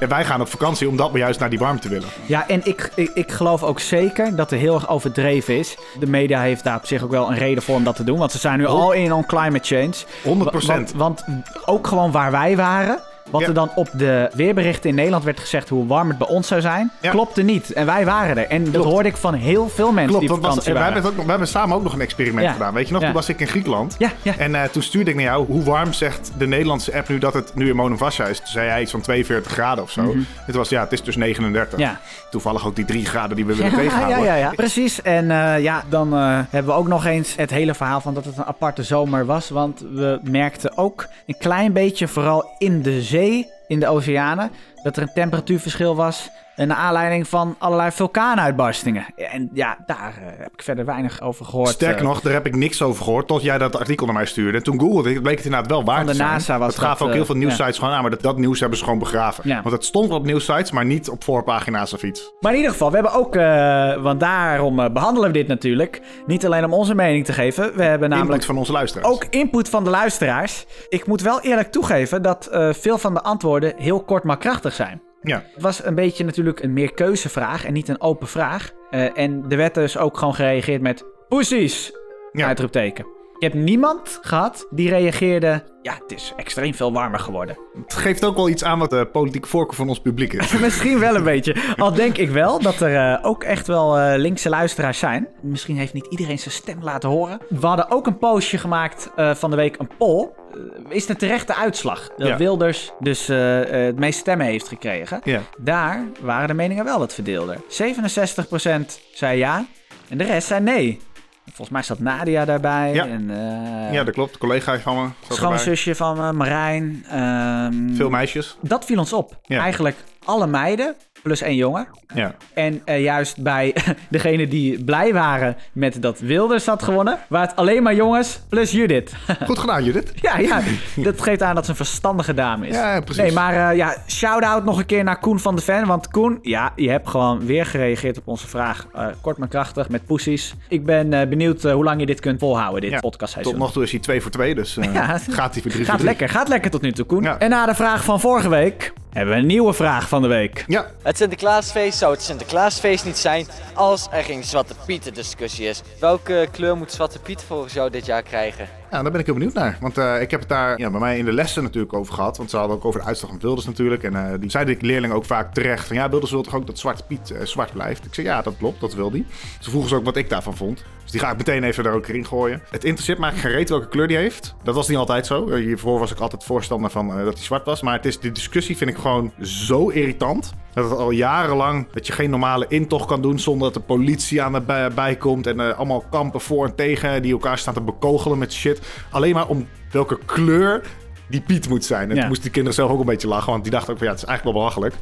Speaker 3: en wij gaan op vakantie omdat we juist naar die warmte willen.
Speaker 1: Ja, en ik, ik, ik geloof ook zeker dat er heel erg overdreven is. De media heeft daar op zich ook wel een reden voor om dat te doen. Want ze zijn nu al in on climate change.
Speaker 3: 100%.
Speaker 1: Want, want ook gewoon waar wij waren. Wat
Speaker 3: Ja.
Speaker 1: er dan op de weerberichten in Nederland werd gezegd hoe warm het bij ons zou zijn,
Speaker 3: Ja.
Speaker 1: klopte niet. En wij waren er. En dat
Speaker 3: Klopt.
Speaker 1: hoorde ik van heel veel mensen
Speaker 3: Klopt,
Speaker 1: die op
Speaker 3: want was-
Speaker 1: vakantie
Speaker 3: en wij,
Speaker 1: waren.
Speaker 3: hebben het ook, nog- wij hebben samen ook nog een experiment
Speaker 1: Ja.
Speaker 3: gedaan. Weet je nog,
Speaker 1: Ja.
Speaker 3: toen was ik in Griekenland.
Speaker 1: Ja, ja.
Speaker 3: En eh, toen stuurde ik naar jou, hoe warm zegt de Nederlandse app nu dat het nu in Monovasja is? Toen zei hij iets van 42 graden of zo. Het was, ja, het is dus 39.
Speaker 1: Mhm. Ja.
Speaker 3: Toevallig ook die 3 graden die we willen
Speaker 1: ja,
Speaker 3: tegenhouden.
Speaker 1: ja, ja, ja. precies. En eh, ja, dan eh, hebben we ook nog eens het hele verhaal van dat het een aparte zomer was. Want we merkten ook een klein beetje, vooral in de zee, in de oceanen, dat er een temperatuurverschil was. eh, Naar aanleiding van allerlei vulkaanuitbarstingen. En ja, daar eh, heb ik verder weinig over gehoord.
Speaker 3: Sterker
Speaker 1: eh.
Speaker 3: nog, daar heb ik niks over gehoord tot jij dat artikel naar mij stuurde. En toen googelde ik, het bleek het inderdaad wel waar
Speaker 1: Van de
Speaker 3: te zijn.
Speaker 1: NASA was
Speaker 3: het gaven
Speaker 1: dat,
Speaker 3: ook heel veel
Speaker 1: eh,
Speaker 3: nieuwsites gewoon aan, maar dat, dat nieuws hebben ze gewoon begraven.
Speaker 1: Ja.
Speaker 3: Want het stond wel op nieuwsites, maar niet op voorpagina's of iets.
Speaker 1: Maar in ieder geval, we hebben ook, eh, want daarom eh, behandelen we dit natuurlijk. Niet alleen om onze mening te geven. We hebben namelijk
Speaker 3: Input van onze luisteraars.
Speaker 1: Ook input van de luisteraars. Ik moet wel eerlijk toegeven dat eh, veel van de antwoorden heel kort maar krachtig zijn.
Speaker 3: Ja.
Speaker 1: Het was een beetje natuurlijk een meerkeuzevraag en niet een open vraag. Eh, en er werd dus ook gewoon gereageerd met poesies,
Speaker 3: Ja.
Speaker 1: uitroepteken. Je hebt niemand gehad die reageerde, ja, het is extreem veel warmer geworden.
Speaker 3: Het geeft ook wel iets aan wat de politieke voorkeur van ons publiek is.
Speaker 1: Misschien wel een beetje. Al denk ik wel dat er eh, ook echt wel eh, linkse luisteraars zijn. Misschien heeft niet iedereen zijn stem laten horen. We hadden ook een postje gemaakt eh, van de week, een poll. Eh, is het een terechte uitslag? Dat
Speaker 3: Ja.
Speaker 1: Wilders dus eh, eh, het meest stemmen heeft gekregen.
Speaker 3: Ja.
Speaker 1: Daar waren de meningen wel wat verdeelder. 67% zei ja en de rest zei nee. Volgens mij zat Nadia daarbij.
Speaker 3: Ja.
Speaker 1: En, eh,
Speaker 3: Ja, dat klopt. Collega van me. zat erbij.
Speaker 1: schoonzusje van me, Marijn. ehm,
Speaker 3: Veel meisjes.
Speaker 1: dat viel ons op.
Speaker 3: Ja.
Speaker 1: Eigenlijk alle meiden plus één jongen.
Speaker 3: Ja.
Speaker 1: En eh, juist bij degenen die blij waren met dat Wilders had gewonnen, waren het alleen maar jongens plus Judith.
Speaker 3: Goed gedaan, Judith.
Speaker 1: ja, ja, dat geeft aan dat ze een verstandige dame is.
Speaker 3: Ja, ja, precies.
Speaker 1: Nee, maar eh, ja, shout-out nog een keer naar Koen van de Ven. Want Koen, ja, je hebt gewoon weer gereageerd op onze vraag. eh, kort maar krachtig, met poesies. Ik ben eh, benieuwd eh, hoe lang je dit kunt volhouden, dit
Speaker 3: Ja.
Speaker 1: podcastseizoen.
Speaker 3: Tot nog toe is hij 2 voor 2, dus eh,
Speaker 1: Ja.
Speaker 3: gaat hij voor 3 voor 3.
Speaker 1: Gaat lekker, gaat lekker tot nu toe, Koen.
Speaker 3: Ja.
Speaker 1: En na de vraag van vorige week hebben we een nieuwe vraag van de week.
Speaker 3: Ja,
Speaker 6: Het Sinterklaasfeest zou het Sinterklaasfeest niet zijn als er geen Zwarte Pieten discussie is. Welke kleur moet Zwarte Piet volgens jou dit jaar krijgen?
Speaker 3: Ja, daar ben ik heel benieuwd naar. Want eh, ik heb het daar ja, bij mij in de lessen natuurlijk over gehad. Want ze hadden ook over de uitslag van Wilders natuurlijk. En eh, die zeiden de leerlingen ook vaak terecht van... ja, Wilders wil toch ook dat Zwarte Piet eh, zwart blijft? Ik zei, ja, dat klopt, dat wil die. Ze vroegen ze ook wat ik daarvan vond. Dus die ga ik meteen even daar ook in gooien. Het interesseert me eigenlijk geen reet welke kleur die heeft. Dat was niet altijd zo. Eh, hiervoor was ik altijd voorstander van eh, dat hij zwart was. Maar het is, de discussie vind ik gewoon zo irritant... Dat het al jarenlang dat je geen normale intocht kan doen zonder dat de politie aan de bij, bij komt. En eh, allemaal kampen voor en tegen die elkaar staan te bekogelen met shit. Alleen maar om welke kleur die Piet moet zijn.
Speaker 1: Ja.
Speaker 3: En toen moesten die kinderen zelf ook een beetje lachen, want die dachten ook van ja, het is eigenlijk wel belachelijk.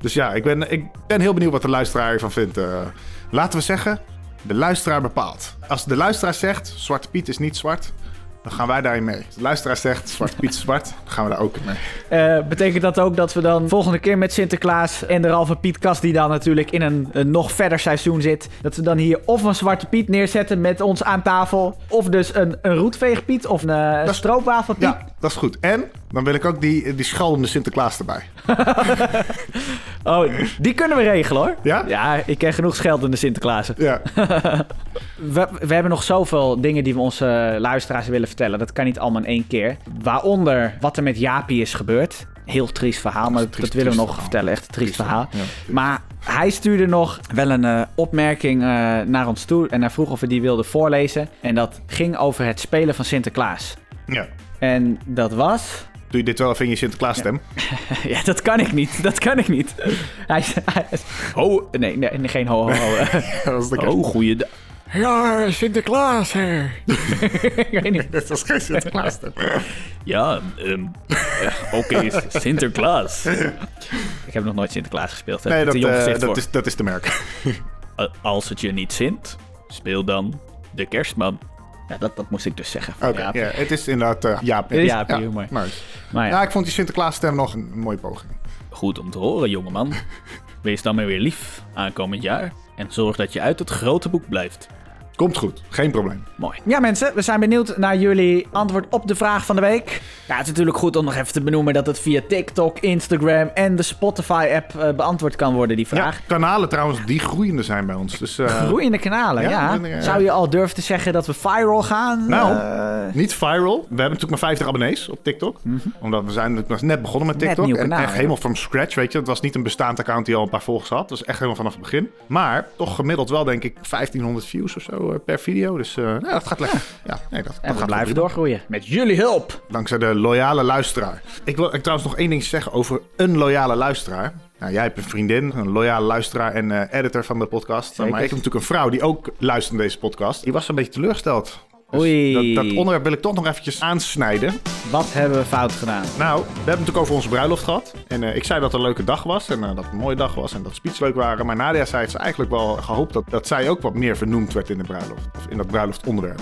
Speaker 3: Dus ja, ik ben, ik ben heel benieuwd wat de luisteraar hiervan vindt. eh. laten we zeggen, de luisteraar bepaalt. Als de luisteraar zegt, Zwarte Piet is niet zwart, dan gaan wij daarin mee. Als de luisteraar zegt Zwart Piet is zwart, dan gaan we daar ook in mee.
Speaker 1: Eh, betekent dat ook dat we dan volgende keer met Sinterklaas en de Ralph en Piet kast, die dan natuurlijk in een, een nog verder seizoen zit, dat we dan hier of een Zwarte Piet neerzetten met ons aan tafel, of dus een, een roetveegpiet of een, eh, een
Speaker 3: is-
Speaker 1: stroopwafelpiet.
Speaker 3: Ja, dat is goed. En dan wil ik ook die, die schalende Sinterklaas erbij.
Speaker 1: Oh, die kunnen we regelen hoor.
Speaker 3: Ja?
Speaker 1: Ja, ik ken genoeg scheldende Sinterklaasen.
Speaker 3: Ja.
Speaker 1: We, we hebben nog zoveel dingen die we onze luisteraars willen vertellen. Dat kan niet allemaal in één keer. Waaronder wat er met Jaapie is gebeurd. Heel triest verhaal, maar dat,
Speaker 3: triest-
Speaker 1: willen we
Speaker 3: triest
Speaker 1: nog
Speaker 3: verhaal.
Speaker 1: vertellen. Echt een triest,
Speaker 3: Triest
Speaker 1: verhaal.
Speaker 3: verhaal,
Speaker 1: Maar hij stuurde nog wel een eh, opmerking eh, naar ons toe. En hij vroeg of we die wilden voorlezen. En dat ging over het spelen van Sinterklaas.
Speaker 3: ja.
Speaker 1: En dat was...
Speaker 3: Doe je dit wel even in je Sinterklaas stem?
Speaker 1: Ja, dat kan ik niet. Dat kan ik niet. Hij... hij ho... Nee, nee, geen ho, ho, ho.
Speaker 3: Ja, dat is de
Speaker 1: Oh, goeiedag.
Speaker 7: Ja, Sinterklaas, hè.
Speaker 1: Ik weet niet.
Speaker 3: Dat is geen Sinterklaas stem.
Speaker 1: Ja, ehm, eh, oké, Sinterklaas. Ik heb nog nooit Sinterklaas gespeeld. Hè?
Speaker 3: Nee, dat,
Speaker 1: Te jong
Speaker 3: eh,
Speaker 1: gezicht
Speaker 3: dat,
Speaker 1: voor.
Speaker 3: is, dat is te merken.
Speaker 1: Eh, Als het je niet zint, speel dan de kerstman. Ja, dat, dat moest ik dus zeggen.
Speaker 3: Oké,
Speaker 1: van Jaap.
Speaker 3: ja, het is inderdaad eh Jaap.
Speaker 1: Het is Jaap, humor.
Speaker 3: nice.
Speaker 1: Maar ja,
Speaker 3: Ja, Nou, ik vond die Sinterklaas stem nog een mooie poging.
Speaker 1: goed om te horen, jongeman. Wees dan maar weer lief aankomend jaar. En zorg dat je uit het grote boek blijft.
Speaker 3: Komt goed, geen probleem.
Speaker 1: Mooi. Ja, mensen, we zijn benieuwd naar jullie antwoord op de vraag van de week. Ja, het is natuurlijk goed om nog even te benoemen dat het via TikTok, Instagram en de Spotify-app eh, beantwoord kan worden, die vraag.
Speaker 3: Ja, kanalen trouwens die groeiende zijn bij ons. Dus eh,
Speaker 1: Groeiende kanalen, ja.
Speaker 3: Ja, groeiende, ja.
Speaker 1: Zou je al durven te zeggen dat we viral gaan?
Speaker 3: Nou,
Speaker 1: Eh,
Speaker 3: niet viral. We hebben natuurlijk maar 50 abonnees op TikTok. Omdat we zijn natuurlijk net begonnen met
Speaker 1: Mhm. Net
Speaker 3: TikTok.
Speaker 1: nieuw
Speaker 3: en
Speaker 1: kanaal,
Speaker 3: echt
Speaker 1: ja.
Speaker 3: helemaal from scratch, weet je. Het was niet een bestaand account die al een paar volgers had. Dat was echt helemaal vanaf het begin. Maar toch gemiddeld wel, denk ik, 1500 views of zo eh, per video. Dus eh, nou, dat gaat lekker. Ja, nee, dat,
Speaker 1: en
Speaker 3: dat gaat
Speaker 1: we
Speaker 3: wel
Speaker 1: blijven
Speaker 3: prima.
Speaker 1: doorgroeien. Met jullie hulp.
Speaker 3: Dankzij de loyale luisteraar. Ik wil ik trouwens nog één ding zeggen over een loyale luisteraar. Nou, jij hebt een vriendin, een loyale luisteraar en eh, editor van de podcast. Maar ik heb natuurlijk een vrouw die ook luistert naar deze podcast. Die was een beetje teleurgesteld. Dus
Speaker 1: Oei.
Speaker 3: Dat, dat onderwerp wil ik toch nog eventjes aansnijden.
Speaker 1: Wat hebben we fout gedaan?
Speaker 3: Nou, we hebben het natuurlijk over onze bruiloft gehad. En eh, ik zei dat het een leuke dag was en eh, dat het een mooie dag was en dat de speeches leuk waren. Maar Nadia zei het ze eigenlijk wel gehoopt dat, dat zij ook wat meer vernoemd werd in de bruiloft. Of in dat bruiloftonderwerp.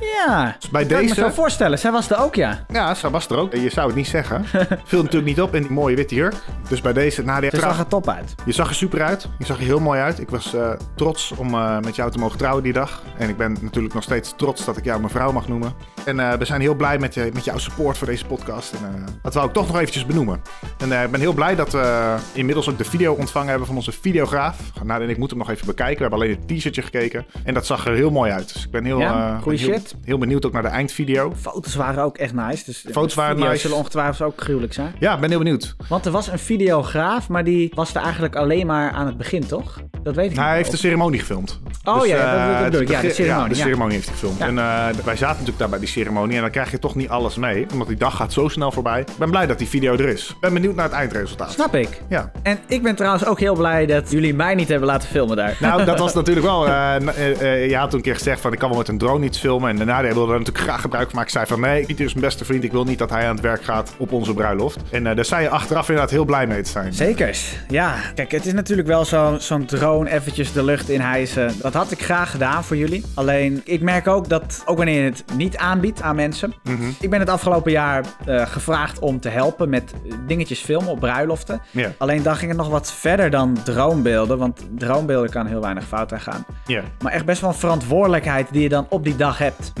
Speaker 1: Ja,
Speaker 3: bij
Speaker 1: dat kan ik me
Speaker 3: deze-
Speaker 1: zo voorstellen. Zij was er ook, ja.
Speaker 3: Ja, ze was er ook. Je zou het niet zeggen. Viel natuurlijk niet op in die mooie witte jurk. Dus bij deze, Nadia,
Speaker 1: Ze
Speaker 3: trouw-
Speaker 1: zag er top uit.
Speaker 3: je zag er super uit. Je zag er heel mooi uit. Ik was eh, trots om eh, met jou te mogen trouwen die dag. En ik ben natuurlijk nog steeds trots dat ik jou mijn vrouw mag noemen. En eh, we zijn heel blij met, je, met jouw support voor deze podcast. En, eh, dat wou ik toch nog eventjes benoemen. En eh, ik ben heel blij dat we inmiddels ook de video ontvangen hebben van onze videograaf. Nadia en ik moeten hem nog even bekijken. We hebben alleen het t-shirtje gekeken. En dat zag er heel mooi uit. Dus ik ben heel,
Speaker 1: Ja,
Speaker 3: eh,
Speaker 1: goeie
Speaker 3: ben heel,
Speaker 1: shit.
Speaker 3: heel benieuwd ook naar de eindvideo.
Speaker 1: Foto's waren ook echt nice. Dus de
Speaker 3: Foto's waren
Speaker 1: video's
Speaker 3: nice.
Speaker 1: zullen ongetwijfeld ook gruwelijk zijn.
Speaker 3: Ja, ik ben heel benieuwd.
Speaker 1: Want er was een videograaf, maar die was er eigenlijk alleen maar aan het begin, toch? Dat weet ik niet.
Speaker 3: Nou, Hij heeft dus-
Speaker 1: meer.
Speaker 3: de ceremonie gefilmd.
Speaker 1: Oh ja, dat- dat
Speaker 3: eh,
Speaker 1: bedoel ik.
Speaker 3: het
Speaker 1: Ja, de
Speaker 3: begin-
Speaker 1: ceremonie,
Speaker 3: de
Speaker 1: ja.
Speaker 3: ceremonie heeft hij gefilmd.
Speaker 1: Ja.
Speaker 3: En eh, wij zaten natuurlijk daar bij die ceremonie. En dan krijg je toch niet alles mee. Omdat die dag gaat zo snel voorbij. Ik ben blij dat die video er is. Ik ben benieuwd naar het eindresultaat.
Speaker 1: Snap ik.
Speaker 3: Ja.
Speaker 1: En ik ben trouwens ook heel blij dat jullie mij niet hebben laten filmen daar.
Speaker 3: Nou, dat was natuurlijk wel. eh, na- eh, eh, je had toen een keer gezegd van ik kan wel met een drone iets filmen. En daarna wilde er natuurlijk graag gebruik van maken. Ik zei van nee, Pieter is mijn beste vriend. Ik wil niet dat hij aan het werk gaat op onze bruiloft. En eh, daar zijn je achteraf inderdaad heel blij mee te zijn.
Speaker 1: Zekers, ja. Kijk, het is natuurlijk wel zo- zo'n drone eventjes de lucht in hijsen. Dat had ik graag gedaan voor jullie. Alleen, ik merk ook dat, ook wanneer je het niet aanbiedt aan mensen...
Speaker 3: Mhm.
Speaker 1: Ik ben het afgelopen jaar eh, gevraagd om te helpen met eh, dingetjes filmen op bruiloften.
Speaker 3: Ja.
Speaker 1: Alleen dan ging het nog wat verder dan droombeelden. Want droombeelden kan heel weinig fout aan gaan.
Speaker 3: Ja.
Speaker 1: Maar echt best wel een verantwoordelijkheid die je dan op die dag hebt.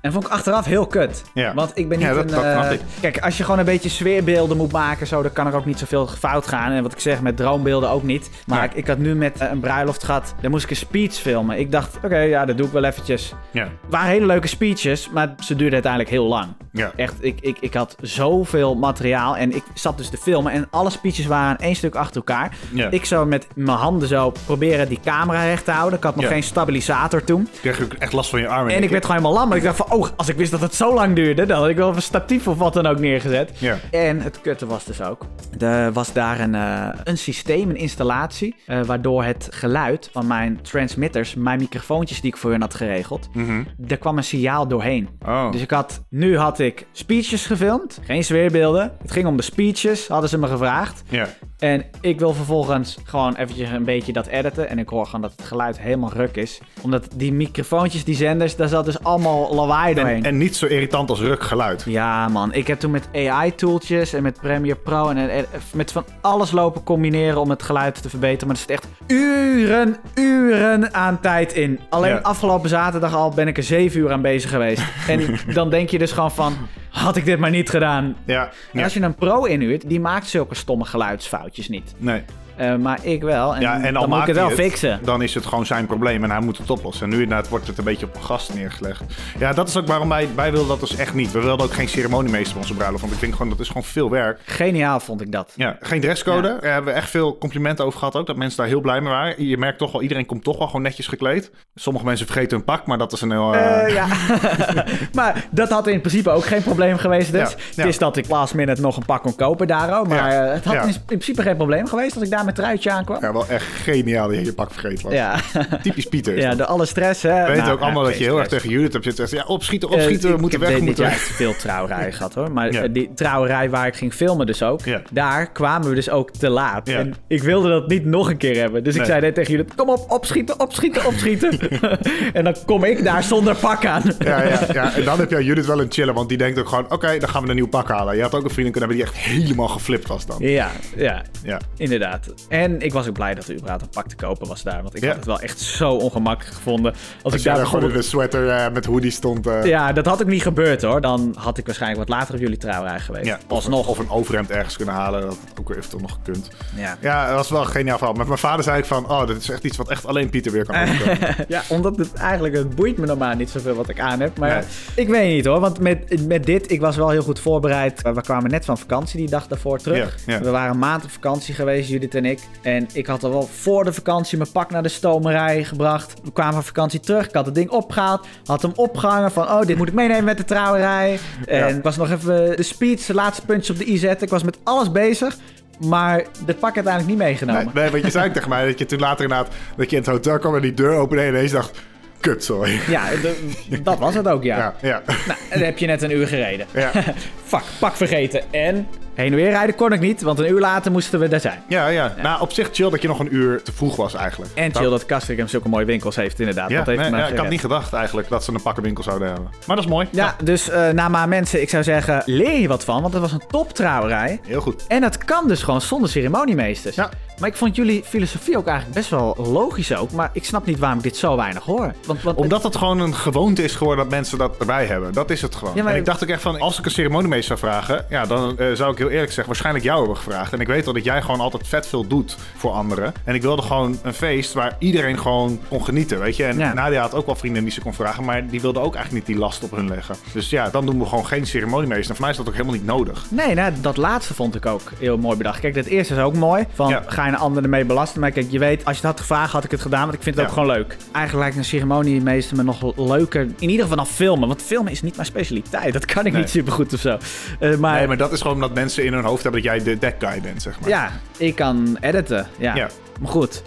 Speaker 1: En vond ik achteraf heel kut.
Speaker 3: Mhm. Ja.
Speaker 1: Want ik ben niet
Speaker 3: Ja, dat-
Speaker 1: een...
Speaker 3: dat
Speaker 1: eh,
Speaker 3: snap ik.
Speaker 1: Kijk, als je gewoon een beetje sfeerbeelden moet maken, zo, dan kan er ook niet zoveel fout gaan. En wat ik zeg, met droombeelden ook niet. Maar
Speaker 3: Nee.
Speaker 1: ik, ik had nu met eh, een bruiloft gehad, daar moest ik een speech filmen. Ik dacht, oké, ja, dat doe ik wel eventjes.
Speaker 3: Ja.
Speaker 1: Het waren hele leuke speeches, maar ze duurden uiteindelijk heel lang.
Speaker 3: Ja.
Speaker 1: Echt, ik, ik, ik had zoveel materiaal en ik zat dus te filmen en alle speeches waren één stuk achter elkaar.
Speaker 3: Ja.
Speaker 1: Ik zou met mijn handen zo proberen die camera recht te houden. Ik had nog
Speaker 3: Ja.
Speaker 1: geen stabilisator toen.
Speaker 3: Ik kreeg ook echt last van je armen.
Speaker 1: En ik
Speaker 3: denk
Speaker 1: werd gewoon helemaal lam. Maar ik dacht van, oh, als ik wist dat het zo lang duurde, dan had ik wel een statief of wat dan ook neergezet.
Speaker 3: Ja.
Speaker 1: En het kutte was dus ook. Er was daar een, eh, een systeem, een installatie, eh, waardoor het geluid van mijn transmitters, mijn microfoontjes die ik voor hun had geregeld, daar kwam een signaal doorheen.
Speaker 3: Mhm. Oh.
Speaker 1: Dus ik had, nu had ik speeches gefilmd, geen zweerbeelden. Het ging om de speeches, hadden ze me gevraagd.
Speaker 3: Ja.
Speaker 1: En ik wil vervolgens gewoon eventjes een beetje dat editen. En ik hoor gewoon dat het geluid helemaal ruk is. Omdat die microfoontjes, die zenders, daar zat dus allemaal lawaai doorheen.
Speaker 3: En, en niet zo irritant als ruk geluid.
Speaker 1: Ja, man. Ik heb toen met AI-tooltjes en met Premiere Pro en, en- en met van alles lopen combineren om het geluid te verbeteren. Maar er zit echt uren, uren aan tijd in. Alleen
Speaker 3: Ja.
Speaker 1: afgelopen zaterdag al ben ik er zeven uur aan bezig geweest. en dan denk je dus gewoon van, had ik dit maar niet gedaan.
Speaker 3: Ja,
Speaker 1: En
Speaker 3: ja.
Speaker 1: als je een pro inhuurt, die maakt zulke stomme geluidsfoutjes niet.
Speaker 3: nee.
Speaker 1: Eh, maar ik wel. En,
Speaker 3: ja en
Speaker 1: dan
Speaker 3: al
Speaker 1: moet ik
Speaker 3: maakt
Speaker 1: het wel
Speaker 3: hij
Speaker 1: fixen.
Speaker 3: Dan is het gewoon zijn probleem en hij moet het oplossen. En nu inderdaad wordt het een beetje op een gast neergelegd. Ja, dat is ook waarom wij, wij wilden dat dus echt niet. We wilden ook geen ceremoniemeester op onze bruiloft. Want ik denk gewoon, dat is gewoon veel werk.
Speaker 1: Geniaal vond ik dat.
Speaker 3: Ja, geen dresscode. Daar hebben we echt veel complimenten over gehad ook. Dat mensen daar heel blij mee waren. Je merkt toch wel, iedereen komt toch wel gewoon netjes gekleed. Sommige mensen vergeten hun pak, maar dat is een heel... eh,
Speaker 1: Eh, ja. maar dat had in principe ook geen probleem geweest. Dus
Speaker 3: Ja, ja.
Speaker 1: het is dat ik last minute nog een pak kon kopen daar ook. Maar
Speaker 3: Ja,
Speaker 1: eh, het had
Speaker 3: ja.
Speaker 1: in in principe geen probleem geweest als ik daar met truitje aankwam.
Speaker 3: Ja, wel echt geniaal dat je je pak vergeten was.
Speaker 1: Ja,
Speaker 3: Typisch Pieter. is
Speaker 1: ja
Speaker 3: dat.
Speaker 1: door alle stress. Hè.
Speaker 3: We weten
Speaker 1: Nou,
Speaker 3: ook allemaal
Speaker 1: ja,
Speaker 3: dat je
Speaker 1: geen
Speaker 3: heel erg
Speaker 1: stress.
Speaker 3: tegen Judith hebt zitten zeggen... Ja, opschieten,
Speaker 1: Eh,
Speaker 3: opschieten, we
Speaker 1: ik
Speaker 3: moeten
Speaker 1: heb
Speaker 3: weg, we
Speaker 1: dit
Speaker 3: moeten
Speaker 1: jaar
Speaker 3: weg.
Speaker 1: echt veel trouwerijen gehad hoor. Maar
Speaker 3: Ja.
Speaker 1: eh, die trouwerij waar ik ging filmen dus ook,
Speaker 3: Ja.
Speaker 1: daar kwamen we dus ook te laat.
Speaker 3: Ja.
Speaker 1: En ik wilde dat niet nog een keer hebben. Dus
Speaker 3: Nee.
Speaker 1: ik zei net tegen jullie, kom op, opschieten, opschieten, opschieten. en dan kom ik daar zonder pak aan.
Speaker 3: Ja, ja, ja, en dan heb je aan Judith wel een chillen, want die denkt ook gewoon... oké, dan gaan we een nieuw pak halen. Je had ook een vriendin kunnen hebben die echt helemaal geflipt was dan.
Speaker 1: Ja, ja,
Speaker 3: Ja,
Speaker 1: inderdaad. En ik was ook blij dat er überhaupt een pak te kopen was daar. Want ik
Speaker 3: Ja.
Speaker 1: had het wel echt zo ongemakkelijk gevonden. Als
Speaker 3: dus
Speaker 1: ik
Speaker 3: jij
Speaker 1: daar
Speaker 3: daar gewoon in
Speaker 1: bijvoorbeeld-
Speaker 3: een sweater eh, met hoodie stond. eh,
Speaker 1: Ja, dat had ook niet gebeurd hoor. Dan had ik waarschijnlijk wat later op jullie trouwerij geweest.
Speaker 3: ja, of,
Speaker 1: Alsnog.
Speaker 3: of een overhemd ergens kunnen halen, dat had ook weer eventueel nog gekund.
Speaker 1: Ja.
Speaker 3: Ja, dat was wel een geniaal verhaal. Met mijn vader zei ik van... oh, dit is echt iets wat echt alleen Pieter weer kan overkomen.
Speaker 1: Ja, omdat het eigenlijk het boeit me normaal niet zoveel wat ik aan heb. Maar
Speaker 3: Nee.
Speaker 1: ik weet niet hoor. Want met, met dit, ik was wel heel goed voorbereid. Eh, We kwamen net van vakantie die dag daarvoor terug.
Speaker 3: Ja, ja.
Speaker 1: We waren een maand op vakantie geweest, Judith en ik. En ik had al wel voor de vakantie mijn pak naar de stomerij gebracht. We kwamen van vakantie terug. Ik had het ding opgehaald. Had hem opgehangen van, oh, dit moet ik meenemen met de trouwerij. En
Speaker 3: Ja.
Speaker 1: ik was nog even de speech, de laatste puntjes op de i zetten. Ik was met alles bezig. Maar de pak had eigenlijk niet meegenomen.
Speaker 3: nee, nee, want je zei ook tegen mij dat je toen later inderdaad... dat je in het hotel kwam en die deur opende en ineens dacht... kut, sorry.
Speaker 1: Ja, de- dat was het ook,
Speaker 3: Ja, ja.
Speaker 1: Nou, dan heb je net een uur gereden.
Speaker 3: Ja.
Speaker 1: Fuck, pak vergeten. En heen en weer rijden kon ik niet, want een uur later moesten we daar zijn.
Speaker 3: Ja, ja. Nou, op zich chill dat je nog een uur te vroeg was eigenlijk.
Speaker 1: En chill dat Castricum zulke mooie winkels heeft, inderdaad.
Speaker 3: Oh. Ja,
Speaker 1: dat heeft
Speaker 3: nee,
Speaker 1: me
Speaker 3: ja, ik
Speaker 1: gered.
Speaker 3: had niet gedacht eigenlijk dat ze een pakkenwinkel zouden hebben. Maar dat is mooi.
Speaker 1: Ja, dus eh na maar mensen, ik zou zeggen, leer je wat van, want het was een toptrouwerij.
Speaker 3: Heel goed.
Speaker 1: En dat kan dus gewoon zonder ceremoniemeesters.
Speaker 3: Ja.
Speaker 1: Maar ik vond jullie filosofie ook eigenlijk best wel logisch ook. Maar ik snap niet waarom ik dit zo weinig hoor. Want, want
Speaker 3: Omdat het gewoon een gewoonte is geworden dat mensen dat erbij hebben. Dat is het gewoon.
Speaker 1: Ja, maar-
Speaker 3: En ik dacht ook echt van, als ik een ceremoniemeester zou vragen... Ja, dan eh, zou ik heel eerlijk zeggen, waarschijnlijk jou hebben gevraagd. En ik weet al dat jij gewoon altijd vet veel doet voor anderen. En ik wilde gewoon een feest waar iedereen gewoon kon genieten, weet je. En
Speaker 1: Ja.
Speaker 3: Nadia had ook wel vrienden die ze kon vragen... maar die wilden ook eigenlijk niet die last op hun leggen. Dus ja, dan doen we gewoon geen ceremoniemeester. En voor mij is dat ook helemaal niet nodig.
Speaker 1: Nee, nou, dat laatste vond ik ook heel mooi bedacht. Kijk, dat eerste is ook mooi. Van,
Speaker 3: Ja.
Speaker 1: ga je een ander ermee belasten? Maar kijk, je weet, als je het had gevraagd, had ik het gedaan. Want ik vind het
Speaker 3: Ja.
Speaker 1: ook gewoon leuk. Eigenlijk lijkt een ceremoniemeester me nog leuker. In ieder geval dan filmen. Want filmen is niet mijn specialiteit. Dat kan ik
Speaker 3: Nee.
Speaker 1: niet supergoed of zo. Eh, maar,
Speaker 3: Nee, maar dat is gewoon omdat mensen in hun hoofd hebben dat jij de deck guy bent, zeg maar.
Speaker 1: ja, ik kan editen. Ja.
Speaker 3: Ja.
Speaker 1: Maar goed.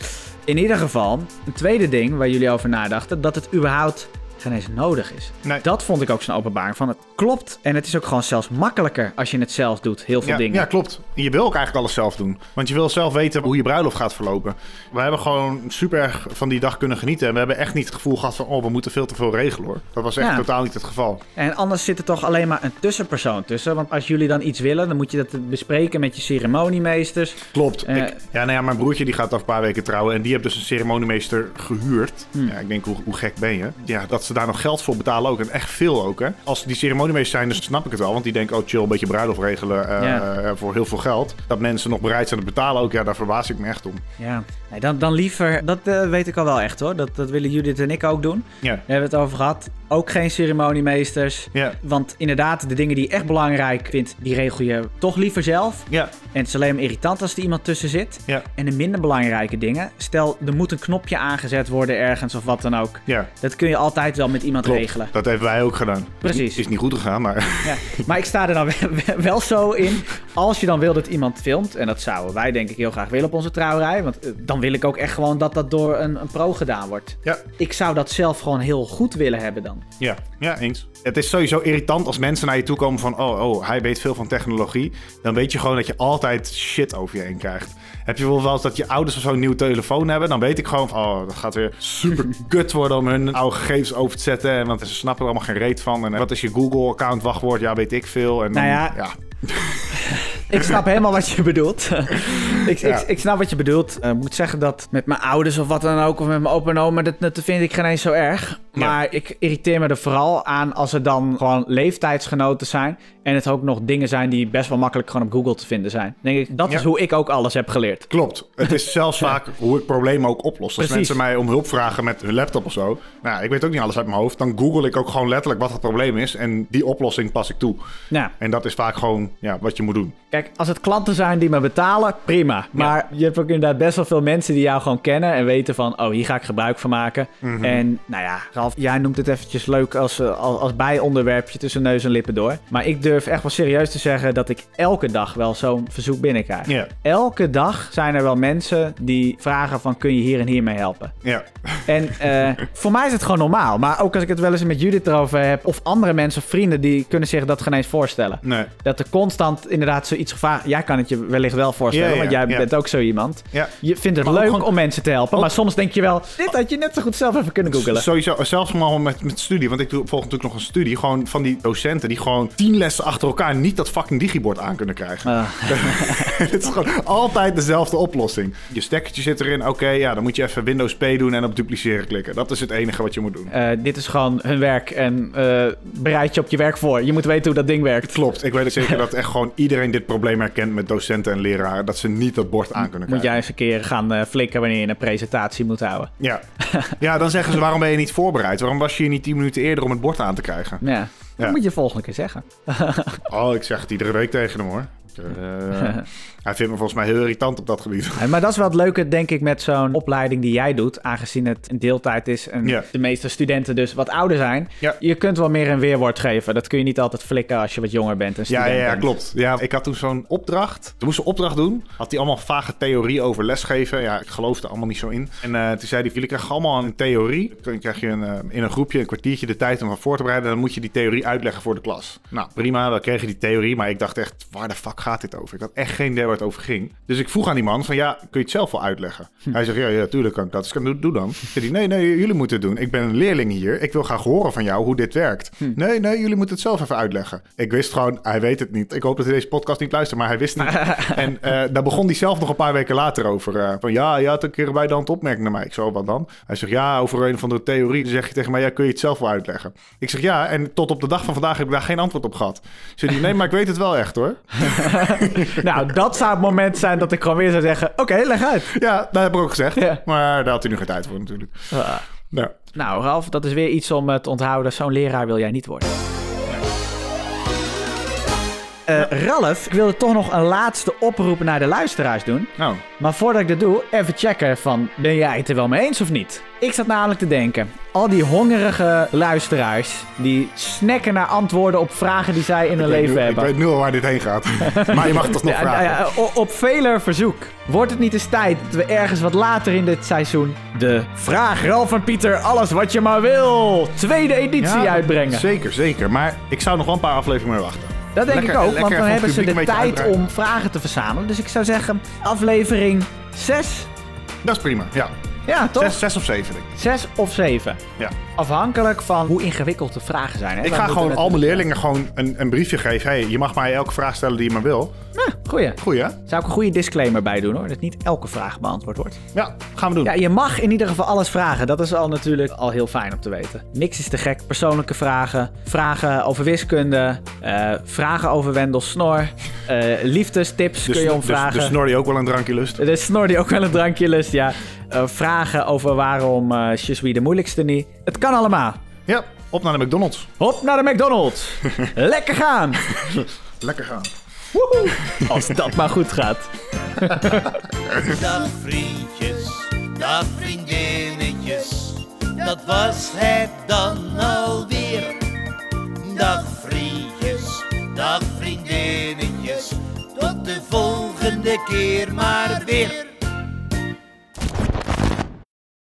Speaker 1: In ieder geval, een tweede ding waar jullie over nadachten, dat het überhaupt geen eens nodig is.
Speaker 3: Nee.
Speaker 1: Dat vond ik ook zo'n openbaring van het klopt. En het is ook gewoon zelfs makkelijker als je het zelf doet, heel veel
Speaker 3: Ja,
Speaker 1: dingen.
Speaker 3: ja, klopt. Je wil ook eigenlijk alles zelf doen. Want je wil zelf weten hoe je bruiloft gaat verlopen. We hebben gewoon super erg van die dag kunnen genieten. En we hebben echt niet het gevoel gehad van... oh, we moeten veel te veel regelen, hoor. Dat was echt
Speaker 1: Ja.
Speaker 3: totaal niet het geval.
Speaker 1: En anders zit er toch alleen maar een tussenpersoon tussen. Want als jullie dan iets willen, dan moet je dat bespreken met je ceremoniemeesters.
Speaker 3: Klopt.
Speaker 1: Eh.
Speaker 3: ik, ja, nou ja, mijn broertje die gaat over een paar weken trouwen. En die heeft dus een ceremoniemeester gehuurd.
Speaker 1: Hmm.
Speaker 3: Ja, ik denk, hoe, hoe gek ben je? Ja, dat ze daar nog geld voor betalen ook. En echt veel ook, hè. Als die ceremoniemeesters zijn, dan snap ik het wel. Want die denken, oh chill, een beetje bruiloft regelen eh,
Speaker 1: Ja.
Speaker 3: eh, voor heel veel geld. Dat mensen nog bereid zijn te betalen ook. Ja, daar verbaas ik me echt om.
Speaker 1: Ja, nee, dan, dan liever. Dat eh, weet ik al wel echt hoor. Dat, dat willen Judith en ik ook doen.
Speaker 3: Ja.
Speaker 1: We hebben het over gehad. Ook geen ceremoniemeesters.
Speaker 3: Ja.
Speaker 1: Want inderdaad, de dingen die je echt belangrijk vindt, die regel je toch liever zelf.
Speaker 3: Ja,
Speaker 1: En het is alleen maar irritant als er iemand tussen zit.
Speaker 3: ja,
Speaker 1: En de minder belangrijke dingen. Stel, er moet een knopje aangezet worden ergens of wat dan ook.
Speaker 3: ja.
Speaker 1: Dat kun je altijd wel met iemand regelen.
Speaker 3: Dat hebben wij ook gedaan.
Speaker 1: Precies.
Speaker 3: Is niet goed gegaan, maar
Speaker 1: Ja, maar ik sta er dan wel- wel zo in. Als je dan wil dat iemand filmt, en dat zouden wij denk ik heel graag willen op onze trouwerij, want eh, dan wil ik ook echt gewoon dat dat door een, een pro gedaan wordt.
Speaker 3: Ja.
Speaker 1: Ik zou dat zelf gewoon heel goed willen hebben dan.
Speaker 3: Ja, ja, eens. Het is sowieso irritant als mensen naar je toe komen van... Oh, oh, hij weet veel van technologie. Dan weet je gewoon dat je altijd shit over je heen krijgt. Heb je wel eens dat je ouders of zo een nieuw telefoon hebben? Dan weet ik gewoon van... Oh, dat gaat weer super kut worden om hun oude gegevens over te zetten. En, want ze snappen er allemaal geen reet van. En wat is je Google-account wachtwoord? Ja, weet ik veel. En dan,
Speaker 1: Nou ja. Ik snap helemaal wat je bedoelt. ik,
Speaker 3: Ja.
Speaker 1: ik, ik snap wat je bedoelt. Eh, Ik moet zeggen dat met mijn ouders of wat dan ook, of met mijn opa en oma, dat, dat vind ik geen eens zo erg.
Speaker 3: Ja.
Speaker 1: Maar ik irriteer me er vooral aan als er dan gewoon leeftijdsgenoten zijn. En het ook nog dingen zijn die best wel makkelijk gewoon op Google te vinden zijn. Dan Denk ik, dat is
Speaker 3: Ja.
Speaker 1: hoe ik ook alles heb geleerd.
Speaker 3: Klopt. Het is zelfs vaak hoe ik problemen ook oplos. Als
Speaker 1: Precies.
Speaker 3: mensen mij om hulp vragen met hun laptop of zo. Nou, ik weet ook niet alles uit mijn hoofd. Dan google ik ook gewoon letterlijk wat het probleem is. En die oplossing pas ik toe.
Speaker 1: Nou,
Speaker 3: En dat is vaak gewoon ja, wat je moet doen.
Speaker 1: kijk, als het klanten zijn die me betalen, prima. Maar je hebt ook inderdaad best wel veel mensen die jou gewoon kennen en weten van, oh, hier ga ik gebruik van maken. En nou ja, Ralf, jij noemt het eventjes leuk als, eh, als, als bijonderwerpje tussen neus en lippen door. Maar ik durf echt wel serieus te zeggen dat ik elke dag wel zo'n verzoek binnenkrijg.
Speaker 3: Ja.
Speaker 1: Elke dag zijn er wel mensen die vragen van, kun je hier en hier mee helpen?
Speaker 3: Ja,
Speaker 1: En eh, voor mij is het gewoon normaal. Maar ook als ik het wel eens met Judith erover heb, of andere mensen, vrienden, die kunnen zich dat geen eens voorstellen.
Speaker 3: nee.
Speaker 1: Dat er constant inderdaad zoiets gevraagd... Jij kan het je wellicht wel voorstellen,
Speaker 3: Ja, ja,
Speaker 1: want jij
Speaker 3: ja.
Speaker 1: bent ook zo iemand.
Speaker 3: Ja.
Speaker 1: Je vindt het
Speaker 3: Maar ook
Speaker 1: leuk
Speaker 3: gewoon-
Speaker 1: om mensen te helpen, maar soms denk je wel... Dit had je net zo goed zelf even kunnen googelen.
Speaker 3: Sowieso, zelfs maar met, met studie. Want ik doe, volg natuurlijk nog een studie. Gewoon van die docenten die gewoon tien lessen achter elkaar niet dat fucking digibord aan kunnen krijgen.
Speaker 1: Ah.
Speaker 3: Het is gewoon altijd dezelfde oplossing. Je stekkertje zit erin. Oké, ja, dan moet je even Windows P doen en op dupliceren klikken. Dat is het enige wat je moet doen.
Speaker 1: Eh, dit is gewoon hun werk en eh, bereid je op je werk voor. Je moet weten hoe dat ding werkt.
Speaker 3: Klopt, ik weet ook zeker dat echt gewoon iedereen dit probleem herkent met docenten en leraren. Dat ze niet dat bord aan kunnen
Speaker 1: Moet
Speaker 3: krijgen.
Speaker 1: jij eens een keer gaan eh, flikken wanneer je een presentatie moet houden.
Speaker 3: Ja. ja, dan zeggen ze waarom ben je niet voorbereid? Waarom was je hier niet 10 minuten eerder om het bord aan te krijgen?
Speaker 1: Ja.
Speaker 3: Ja.
Speaker 1: Dat moet je volgende keer zeggen.
Speaker 3: Oh, ik zeg het iedere week tegen hem hoor. Ik, eh, hij vindt me volgens mij heel irritant op dat gebied.
Speaker 1: Eh, Maar dat is wel het leuke, denk ik, met zo'n opleiding die jij doet. Aangezien het een deeltijd is en
Speaker 3: Ja.
Speaker 1: de meeste studenten dus wat ouder zijn.
Speaker 3: Ja.
Speaker 1: Je kunt wel meer een weerwoord geven. Dat kun je niet altijd flikken als je wat jonger bent en
Speaker 3: Ja,
Speaker 1: student
Speaker 3: ja, ja,
Speaker 1: bent.
Speaker 3: klopt. Ja, ik had toen zo'n opdracht. Toen moest ze een opdracht doen. Had hij allemaal vage theorie over lesgeven. Ja, ik geloofde allemaal niet zo in. En eh, toen zei hij, jullie krijgen allemaal een theorie. Dan krijg je een, eh, in een groepje een kwartiertje de tijd om wat voor te bereiden. Dan moet je die theorie uitleggen voor de klas. Nou, prima. We kregen die theorie. Maar ik dacht echt, waar de fuck gaat dit over? Ik had echt geen idee waar het over ging. Dus ik vroeg aan die man van, ja, kun je het zelf wel uitleggen?
Speaker 1: Hm.
Speaker 3: Hij zegt, ja, ja, tuurlijk kan ik dat. Dus ik zeg, doe, doe dan. Zegt hij, nee, nee, jullie moeten het doen. Ik ben een leerling hier. Ik wil graag horen van jou hoe dit werkt. Nee, nee, jullie moeten het zelf even uitleggen. Ik wist gewoon, hij weet het niet. Ik hoop dat hij deze podcast niet luistert, maar hij wist het niet. en eh, daar begon hij zelf nog een paar weken later over. eh, van ja, je had een keer bij de hand opmerking naar mij. Ik zo, wat dan? Hij zegt, ja, over een of andere theorie. Dan zeg je tegen mij, ja, kun je het zelf wel uitleggen? Ik zeg, ja, en tot op de dag van vandaag heb ik daar geen antwoord op gehad. Zegt hij, nee, maar ik weet het wel echt hoor.
Speaker 1: Nou, dat zou het moment zijn dat ik gewoon weer zou zeggen... Oké, leg uit.
Speaker 3: Ja, dat heb ik ook gezegd.
Speaker 1: Ja.
Speaker 3: Maar daar had hij nu geen tijd voor natuurlijk.
Speaker 1: Ah.
Speaker 3: Nou,
Speaker 1: Nou, Ralf, dat is weer iets om eh, te onthouden. Zo'n leraar wil jij niet worden. Eh Ralf, ik wilde toch nog een laatste oproep naar de luisteraars doen.
Speaker 3: nou.
Speaker 1: Maar voordat ik dat doe, even checken van ben jij het er wel mee eens of niet? Ik zat namelijk te denken, al die hongerige luisteraars die snakken naar antwoorden op vragen die zij in hun
Speaker 3: Ik weet
Speaker 1: leven
Speaker 3: nu-
Speaker 1: hebben.
Speaker 3: Ik weet nu al waar dit heen gaat. maar je mag het alsnog
Speaker 1: Ja,
Speaker 3: vragen.
Speaker 1: ja, ja, o- op veler verzoek. Wordt het niet eens tijd dat we ergens wat later in dit seizoen de Vraag Ralf en Pieter alles wat je maar wil tweede editie
Speaker 3: Ja,
Speaker 1: uitbrengen?
Speaker 3: Zeker, zeker. Maar ik zou nog wel een paar afleveringen mee wachten.
Speaker 1: Dat denk
Speaker 3: Lekker-
Speaker 1: ik ook,
Speaker 3: lekker
Speaker 1: want dan
Speaker 3: even
Speaker 1: hebben
Speaker 3: het
Speaker 1: ze de
Speaker 3: publiek een beetje
Speaker 1: tijd
Speaker 3: uitbreiden.
Speaker 1: om vragen te verzamelen. Dus ik zou zeggen, aflevering 6.
Speaker 3: Dat is prima, ja.
Speaker 1: Ja, toch?
Speaker 3: Zes, zes of zeven, denk ik.
Speaker 1: 6 of 7.
Speaker 3: Ja.
Speaker 1: Afhankelijk van hoe ingewikkeld de vragen zijn. Hè?
Speaker 3: Ik
Speaker 1: Wij
Speaker 3: ga
Speaker 1: moeten
Speaker 3: gewoon
Speaker 1: het- eh,
Speaker 3: al mijn leerlingen gewoon een, een briefje geven. Hey, je mag mij elke vraag stellen die je maar wil.
Speaker 1: Nou, Goeie.
Speaker 3: Goeie, hè?
Speaker 1: Zou ik een goede disclaimer bij doen hoor. Dat niet elke vraag beantwoord wordt.
Speaker 3: Ja, gaan we doen.
Speaker 1: Ja, je mag in ieder geval alles vragen. Dat is al natuurlijk al heel fijn om te weten. Niks is te gek. Persoonlijke vragen. Vragen over wiskunde. eh, vragen over Wendel Snor. eh, liefdestips
Speaker 3: Dus-
Speaker 1: kun je om
Speaker 3: dus- Dus
Speaker 1: vragen. Eh.
Speaker 3: snor die ook wel een drankje lust.
Speaker 1: De snor die ook wel een drankje lust, ja. Eh, vragen over waarom eh Je suis de moeilijkste niet. Het kan allemaal.
Speaker 3: Ja, op naar de McDonald's.
Speaker 1: Hop naar de McDonald's. Lekker gaan.
Speaker 3: Lekker gaan.
Speaker 1: Woehoe. Als dat maar goed gaat.
Speaker 8: Dag vriendjes, dag vriendinnetjes, dat was het dan alweer. Dag vriendjes, dag vriendinnetjes, tot de volgende keer maar weer.